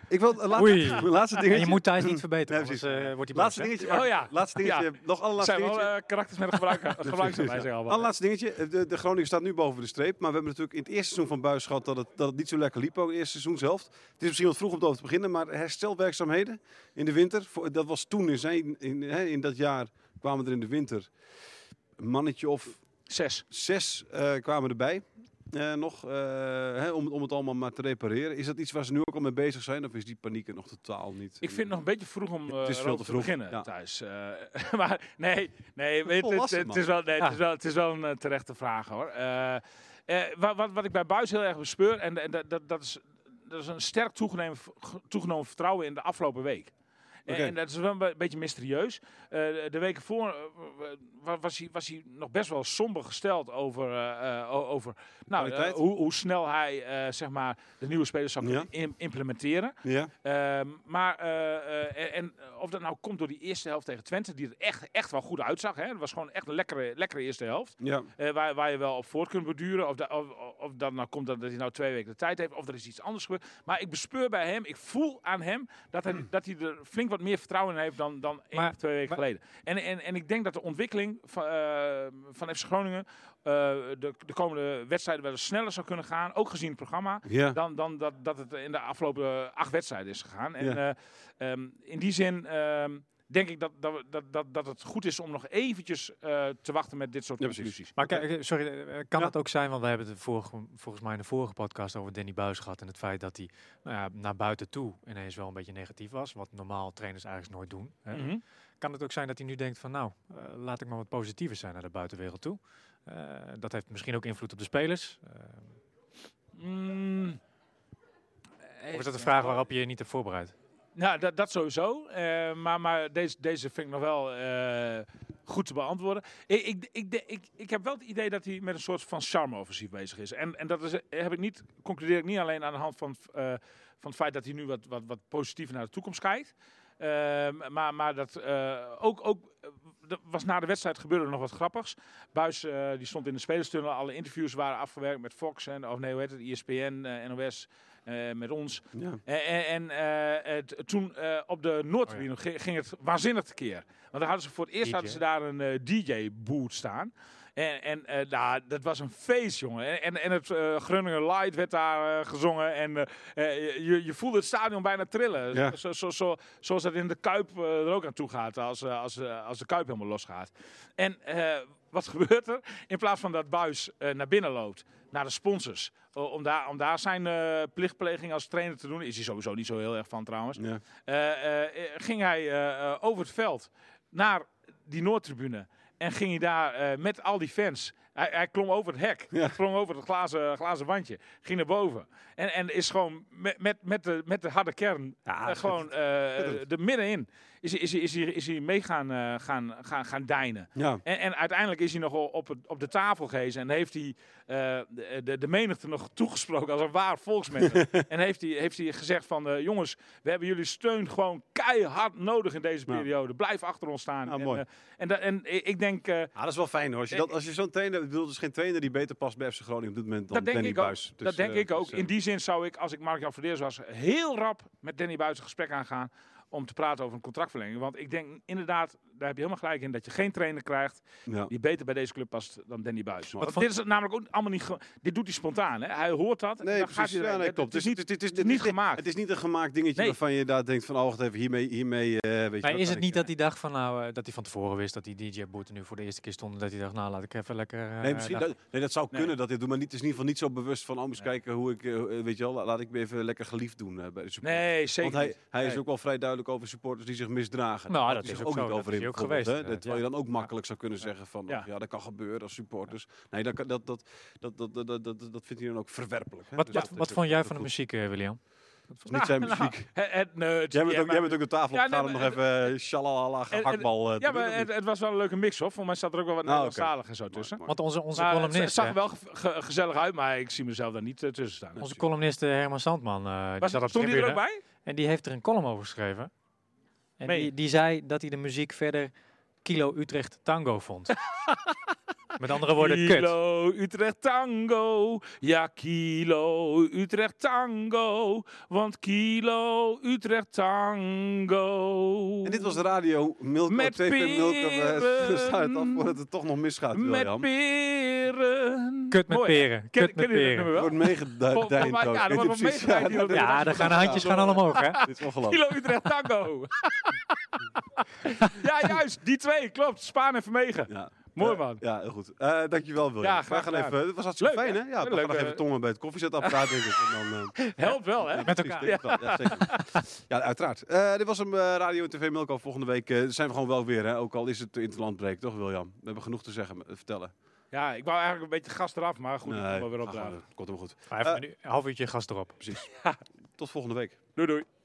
[SPEAKER 3] Ik wil eh, laat- <laughs>
[SPEAKER 4] Oei.
[SPEAKER 3] laatste
[SPEAKER 4] En
[SPEAKER 3] dingetje.
[SPEAKER 4] je moet thuis niet verbeteren,
[SPEAKER 3] <clears throat> Nee,
[SPEAKER 4] anders
[SPEAKER 3] precies.
[SPEAKER 4] eh, wordt hij boos.
[SPEAKER 3] laatste
[SPEAKER 4] hè?
[SPEAKER 3] dingetje.
[SPEAKER 5] Oh
[SPEAKER 3] Oh
[SPEAKER 5] ja.
[SPEAKER 3] ja. Laatste dingetje. Nog
[SPEAKER 5] Dat
[SPEAKER 3] allerlaatste
[SPEAKER 5] zijn wel
[SPEAKER 3] dingetje.
[SPEAKER 5] eh, karakters met
[SPEAKER 3] <laughs>
[SPEAKER 5] een gebruik, gebruiksaanwijzing allemaal.
[SPEAKER 3] Allerlaatste dingetje. Eh, De, de Groningen staat nu boven de streep. Maar we hebben natuurlijk in het eerste seizoen van Buis gehad dat het, dat het niet zo lekker liep. Ook het eerste seizoen zelf. Het is misschien wat vroeg om het over te beginnen. Maar herstelwerkzaamheden in de winter. voor- dat was toen in, zijn, in, hè, in dat jaar kwamen er in de winter een mannetje of
[SPEAKER 5] Zes.
[SPEAKER 3] zes eh, kwamen erbij. eh, nog, eh, hè, om, het- om het allemaal maar te repareren. Is dat iets waar ze nu ook al mee bezig zijn? Of is die paniek er nog totaal niet?
[SPEAKER 5] Ik vind het nog een beetje vroeg om eh
[SPEAKER 3] het is veel
[SPEAKER 5] erover
[SPEAKER 3] te vroeg,
[SPEAKER 5] beginnen
[SPEAKER 3] ja.
[SPEAKER 5] thuis. Eh, <laughs> maar nee, nee weet, het,
[SPEAKER 3] Volwassen,
[SPEAKER 5] het, is wel, nee,
[SPEAKER 4] Ja.
[SPEAKER 5] het, is wel, het is wel een eh, terechte vraag hoor. Eh, eh, wa- wat, wat ik bij Buis heel erg bespeur, en, en dat, dat, dat, is, dat is een sterk toegenomen, toegenomen vertrouwen in de afgelopen week. En-
[SPEAKER 3] Oké.
[SPEAKER 5] En dat is wel een be- beetje mysterieus. Eh, de- de weken voor eh, wa- was, hij, was hij nog best wel somber gesteld over, eh, eh, o- over nou, eh,
[SPEAKER 3] Kwaliteit?
[SPEAKER 5] hoe, hoe snel hij eh, zeg maar, de nieuwe spelers zou kunnen
[SPEAKER 3] Ja.
[SPEAKER 5] im- implementeren.
[SPEAKER 3] Ja,
[SPEAKER 5] Ehm, maar eh, eh, en, en of dat nou komt door die eerste helft tegen Twente, die er echt, echt wel goed uitzag. Hè? Het was gewoon echt een lekkere, lekkere eerste helft.
[SPEAKER 3] ja.
[SPEAKER 5] eh, waar, waar je wel op voort kunt beduren. Of, da- of, of dat nou komt dat dat hij nou twee weken de tijd heeft. Of er is iets anders gebeurd. Maar ik bespeur bij hem, ik voel aan hem dat hij, dat hij er flink wat meer vertrouwen in heeft dan, dan één
[SPEAKER 4] Maar-
[SPEAKER 5] of twee weken
[SPEAKER 4] maar-
[SPEAKER 5] geleden. En, en, en ik denk dat de ontwikkeling van, eh, van FC Groningen eh, de, de komende wedstrijden wel eens sneller zou kunnen gaan. Ook gezien het programma
[SPEAKER 3] ja.
[SPEAKER 5] dan, dan dat, dat het in de afgelopen eh, acht wedstrijden is gegaan. En
[SPEAKER 3] Ja.
[SPEAKER 5] eh, ehm, in die zin ehm, denk ik dat, dat, we- dat, dat, dat het goed is om nog eventjes eh, te wachten met dit soort
[SPEAKER 3] Ja, precies.
[SPEAKER 5] conclusies.
[SPEAKER 4] Maar kijk, eh, sorry, eh, kan
[SPEAKER 3] Ja.
[SPEAKER 4] het ook zijn, want we hebben het vorige, volgens mij in de vorige podcast over Danny Buis gehad en het feit dat hij nou ja, naar buiten toe ineens wel een beetje negatief was, wat normaal trainers eigenlijk nooit doen. Hè?
[SPEAKER 5] Mhm.
[SPEAKER 4] Kan het ook zijn dat hij nu denkt van nou, eh, laat ik maar wat positiever zijn naar de buitenwereld toe. Eh, dat heeft misschien ook invloed op de spelers. Eh,
[SPEAKER 5] Mm.
[SPEAKER 4] of is dat een
[SPEAKER 5] Eh,
[SPEAKER 4] vraag waarop je je niet hebt voorbereid?
[SPEAKER 5] Nou, dat, dat sowieso. Eh, maar maar deze, deze vind ik nog wel eh, goed te beantwoorden. Ik, ik, ik, de- ik, ik heb wel het idee dat hij met een soort van charme-offensief bezig is. En, en dat is, heb ik niet, concludeer ik niet alleen aan de hand van eh, van het feit dat hij nu wat, wat, wat positiever naar de toekomst kijkt. Ehm, maar, maar dat eh, ook, ook eh, dat was na de wedstrijd gebeurde er nog wat grappigs. Buis eh, die stond in de spelerstunnel. Alle interviews waren afgewerkt met Fox en of nee, hoe heet het, ESPN, eh, NOS, eh, met ons.
[SPEAKER 3] Ja.
[SPEAKER 5] En, en, en, eh, het- toen eh, op de Noordtribune gi- ging het waanzinnig tekeer. Want daar hadden ze voor het eerst
[SPEAKER 4] DJ.
[SPEAKER 5] hadden ze daar een DJ-boot staan. En, en eh, nou, dat was een feest, jongen. En, en, en het eh Groningen Light werd daar eh, gezongen. En eh, eh, je, je voelde het stadion bijna trillen.
[SPEAKER 3] Ja.
[SPEAKER 5] Zo, zo, zo, zoals dat in de Kuip eh, er ook aan toe gaat. Als, eh, als, eh, als de Kuip helemaal losgaat. En eh, wat gebeurt er? In plaats van dat Buis eh, naar binnen loopt, naar de sponsors, eh, om, daar, om daar zijn eh, plichtpleging als trainer te doen, is hij sowieso niet zo heel erg van trouwens,
[SPEAKER 3] Ja.
[SPEAKER 5] Eh, eh, ging hij eh, eh, over het veld naar die Noordtribune en ging hij daar eh, met al die fans. Hij, hij klom over het hek,
[SPEAKER 3] Ja.
[SPEAKER 5] hij klom over het glazen, glazen wandje, ging naar boven. En, en is gewoon met, met, met, de, met de harde kern,
[SPEAKER 3] Ja,
[SPEAKER 5] eh, gewoon eh, de middenin, is, hij- is, hij- is, hij- is hij mee gaan, eh, gaan, gaan, gaan dijnen.
[SPEAKER 3] Ja.
[SPEAKER 5] En, en uiteindelijk is hij nog wel op, het- op de tafel geweest en heeft hij eh, de- de, de menigte nog toegesproken als een waar
[SPEAKER 3] <laughs>
[SPEAKER 5] volksmensen. en heeft hij, heeft hij gezegd van, eh, jongens, we hebben jullie steun gewoon keihard nodig in deze
[SPEAKER 3] Ja.
[SPEAKER 5] periode. Blijf achter ons staan.
[SPEAKER 3] Nou,
[SPEAKER 5] en,
[SPEAKER 3] mooi.
[SPEAKER 5] eh, en, da- en i- ik denk, eh,
[SPEAKER 3] Ah, dat is wel fijn hoor. Als je, dat, als je zo'n trainer, ik bedoel, er is geen trainer die beter past bij FC Groningen op dit moment dan
[SPEAKER 5] dat denk
[SPEAKER 3] Danny
[SPEAKER 5] ik ook.
[SPEAKER 3] Buijs. Dus,
[SPEAKER 5] dat denk
[SPEAKER 3] eh,
[SPEAKER 5] ik ook.
[SPEAKER 3] dus, eh,
[SPEAKER 5] in die zin zou ik, als ik Mark-Jan Verdeers was, heel rap met Danny Buijs een gesprek aangaan om te praten over een contractverlenging. Want ik denk inderdaad, daar heb je helemaal gelijk in, dat je geen trainer krijgt
[SPEAKER 3] ja.
[SPEAKER 5] die beter bij deze club past dan Danny Buis.
[SPEAKER 3] Maar
[SPEAKER 5] Want dit is namelijk ook allemaal niet. ge- Dit doet hij spontaan. Hè? Hij hoort dat. en
[SPEAKER 3] Nee,
[SPEAKER 5] dan
[SPEAKER 3] precies.
[SPEAKER 5] gaat hij
[SPEAKER 3] Ja,
[SPEAKER 5] erheen.
[SPEAKER 3] nee,
[SPEAKER 5] Het-
[SPEAKER 3] klopt.
[SPEAKER 5] Het is
[SPEAKER 3] Het
[SPEAKER 5] niet,
[SPEAKER 3] is- het is-
[SPEAKER 5] het is
[SPEAKER 3] het
[SPEAKER 5] niet
[SPEAKER 3] is-
[SPEAKER 5] gemaakt.
[SPEAKER 3] Het is niet een gemaakt dingetje
[SPEAKER 5] Nee.
[SPEAKER 3] waarvan je daar denkt van, oh wacht even, hiermee, hiermee eh, weet je
[SPEAKER 4] Maar
[SPEAKER 3] wat, dan
[SPEAKER 4] is het niet
[SPEAKER 3] denk
[SPEAKER 4] dat hij dacht van nou, eh, dat hij van tevoren wist dat die DJ-boete nu voor de eerste keer stond. en Dat hij dacht, nou laat ik even lekker. eh,
[SPEAKER 3] je- Nee, misschien,
[SPEAKER 4] daar-
[SPEAKER 3] dat, nee, dat zou
[SPEAKER 5] Nee.
[SPEAKER 3] kunnen dat dit doet, maar niet, het is in ieder geval niet zo bewust van, oh, eens kijken hoe ik, eh, weet je wel, la- laat ik me even lekker geliefd doen eh, bij de supporters.
[SPEAKER 5] nee, zeker.
[SPEAKER 3] Want hij,
[SPEAKER 5] niet.
[SPEAKER 3] hij is
[SPEAKER 5] Nee.
[SPEAKER 3] ook wel vrij duidelijk over supporters die zich misdragen.
[SPEAKER 4] Nou,
[SPEAKER 3] Daar
[SPEAKER 4] dat
[SPEAKER 3] hij
[SPEAKER 4] is
[SPEAKER 3] zich
[SPEAKER 4] ook zo. Dat is
[SPEAKER 3] in,
[SPEAKER 4] hij ook
[SPEAKER 3] bijvoorbeeld,
[SPEAKER 4] geweest,
[SPEAKER 3] hè. Dat- Terwijl je dan ook makkelijk zou kunnen zeggen van,
[SPEAKER 5] eh, Ja.
[SPEAKER 3] ach, ja, dat kan gebeuren als supporters. Nee, dat, kan- dat, dat, dat, dat, dat, dat, dat dat vindt hij dan ook verwerpelijk. hè.
[SPEAKER 4] Wat,
[SPEAKER 3] Dus
[SPEAKER 4] wat,
[SPEAKER 3] dat is
[SPEAKER 4] wat
[SPEAKER 3] ook-
[SPEAKER 4] vond jij
[SPEAKER 3] dat
[SPEAKER 4] van de
[SPEAKER 3] doet-
[SPEAKER 4] muziek, eh, William?
[SPEAKER 3] dat is Niet zijn
[SPEAKER 5] Nou, <laughs>
[SPEAKER 3] muziek.
[SPEAKER 5] het- het- nee, het-
[SPEAKER 3] Jij bent,
[SPEAKER 5] ja,
[SPEAKER 3] ook, jij
[SPEAKER 5] maar-
[SPEAKER 3] bent ook de tafel
[SPEAKER 5] Ja,
[SPEAKER 3] opgegaan
[SPEAKER 5] nee,
[SPEAKER 3] om nog
[SPEAKER 5] maar-
[SPEAKER 3] even eh, shalalala
[SPEAKER 5] en-
[SPEAKER 3] gehaktbal eh, te
[SPEAKER 5] Ja,
[SPEAKER 3] doen,
[SPEAKER 5] maar
[SPEAKER 3] of
[SPEAKER 5] het,
[SPEAKER 3] niet?
[SPEAKER 5] het was wel een leuke mix hoor. Voor mij zat er ook wel wat
[SPEAKER 3] Nou,
[SPEAKER 5] Nederlandstalig en zo tussen.
[SPEAKER 3] Mooi, mooi.
[SPEAKER 4] Want onze, onze
[SPEAKER 5] Maar het
[SPEAKER 4] columnist,
[SPEAKER 5] Nou, zag er
[SPEAKER 4] eh,
[SPEAKER 5] wel ge- ge- gezellig uit, maar ik zie mezelf daar niet eh, tussen staan.
[SPEAKER 4] onze columnist eh, Herman Sandman, eh, die
[SPEAKER 5] Was,
[SPEAKER 4] zat op de
[SPEAKER 5] stond hij er
[SPEAKER 4] tribune.
[SPEAKER 5] ook bij?
[SPEAKER 4] En die heeft er een column over geschreven. En
[SPEAKER 5] Meen
[SPEAKER 4] die,
[SPEAKER 5] je?
[SPEAKER 4] die zei dat hij de muziek verder Kilo Utrecht Tango
[SPEAKER 5] <laughs>
[SPEAKER 4] vond. Met andere woorden, kut.
[SPEAKER 5] Kilo Utrecht Tango, ja Kilo Utrecht Tango, want Kilo Utrecht Tango.
[SPEAKER 3] En dit was Radio Milko
[SPEAKER 5] Met
[SPEAKER 3] TV Milko. <laughs> We
[SPEAKER 5] peren.
[SPEAKER 3] sluiten eh, af voordat het toch nog misgaat,
[SPEAKER 5] Met
[SPEAKER 3] William.
[SPEAKER 5] peren.
[SPEAKER 4] Kut met
[SPEAKER 5] Mooi.
[SPEAKER 4] peren.
[SPEAKER 5] Ken,
[SPEAKER 4] Kut met
[SPEAKER 5] ken je dit
[SPEAKER 4] peren.
[SPEAKER 5] nummer wel?
[SPEAKER 3] Wordt meegedijnd
[SPEAKER 5] Vol- volgens mij-
[SPEAKER 3] ook.
[SPEAKER 5] ja, er
[SPEAKER 3] Dit
[SPEAKER 5] wordt
[SPEAKER 3] is
[SPEAKER 5] wel
[SPEAKER 3] precies- <laughs>
[SPEAKER 5] meegedijnd
[SPEAKER 3] ja,
[SPEAKER 5] hier op de-
[SPEAKER 4] Ja, daar gaan de handjes gaan allemaal
[SPEAKER 5] <laughs>
[SPEAKER 4] omhoog, hè?
[SPEAKER 3] Dit is ongelooflijk.
[SPEAKER 5] Kilo Utrecht
[SPEAKER 3] <laughs>
[SPEAKER 5] Tango. ja, juist. Die twee, klopt. Spaan en Vermegen.
[SPEAKER 3] Ja.
[SPEAKER 5] Mooi,
[SPEAKER 3] Eh,
[SPEAKER 5] man.
[SPEAKER 3] Ja, heel goed. Eh, dankjewel, William.
[SPEAKER 5] Ja,
[SPEAKER 3] Wij
[SPEAKER 5] graag
[SPEAKER 3] gaan
[SPEAKER 5] gedaan.
[SPEAKER 3] even, het was hartstikke
[SPEAKER 5] Leuk,
[SPEAKER 3] fijn, hè?
[SPEAKER 5] hè?
[SPEAKER 3] Ja, we gaan
[SPEAKER 5] Leuk,
[SPEAKER 3] nog even
[SPEAKER 5] eh.
[SPEAKER 3] tongen bij het koffiezetapparaat, denk ik. En dan, eh,
[SPEAKER 5] Helpt wel, hè?
[SPEAKER 4] Met
[SPEAKER 3] Precies,
[SPEAKER 4] elkaar.
[SPEAKER 3] denk ik wel. Ja, zeker. ja uiteraard. Eh, dit was hem, eh, Radio en TV Milko. Volgende week eh, zijn we gewoon wel weer, hè? Ook al is het de interlandbreek, toch, William? We hebben genoeg te zeggen, eh, vertellen.
[SPEAKER 5] Ja, ik wou eigenlijk een beetje gas eraf, maar goed, ik
[SPEAKER 3] Nee,
[SPEAKER 5] kom wel weer
[SPEAKER 3] ga
[SPEAKER 5] opdragen.
[SPEAKER 3] gewoon, Komt hem goed.
[SPEAKER 4] Vijf minu- half uurtje gas erop.
[SPEAKER 3] Tot volgende week.
[SPEAKER 5] Doei, doei.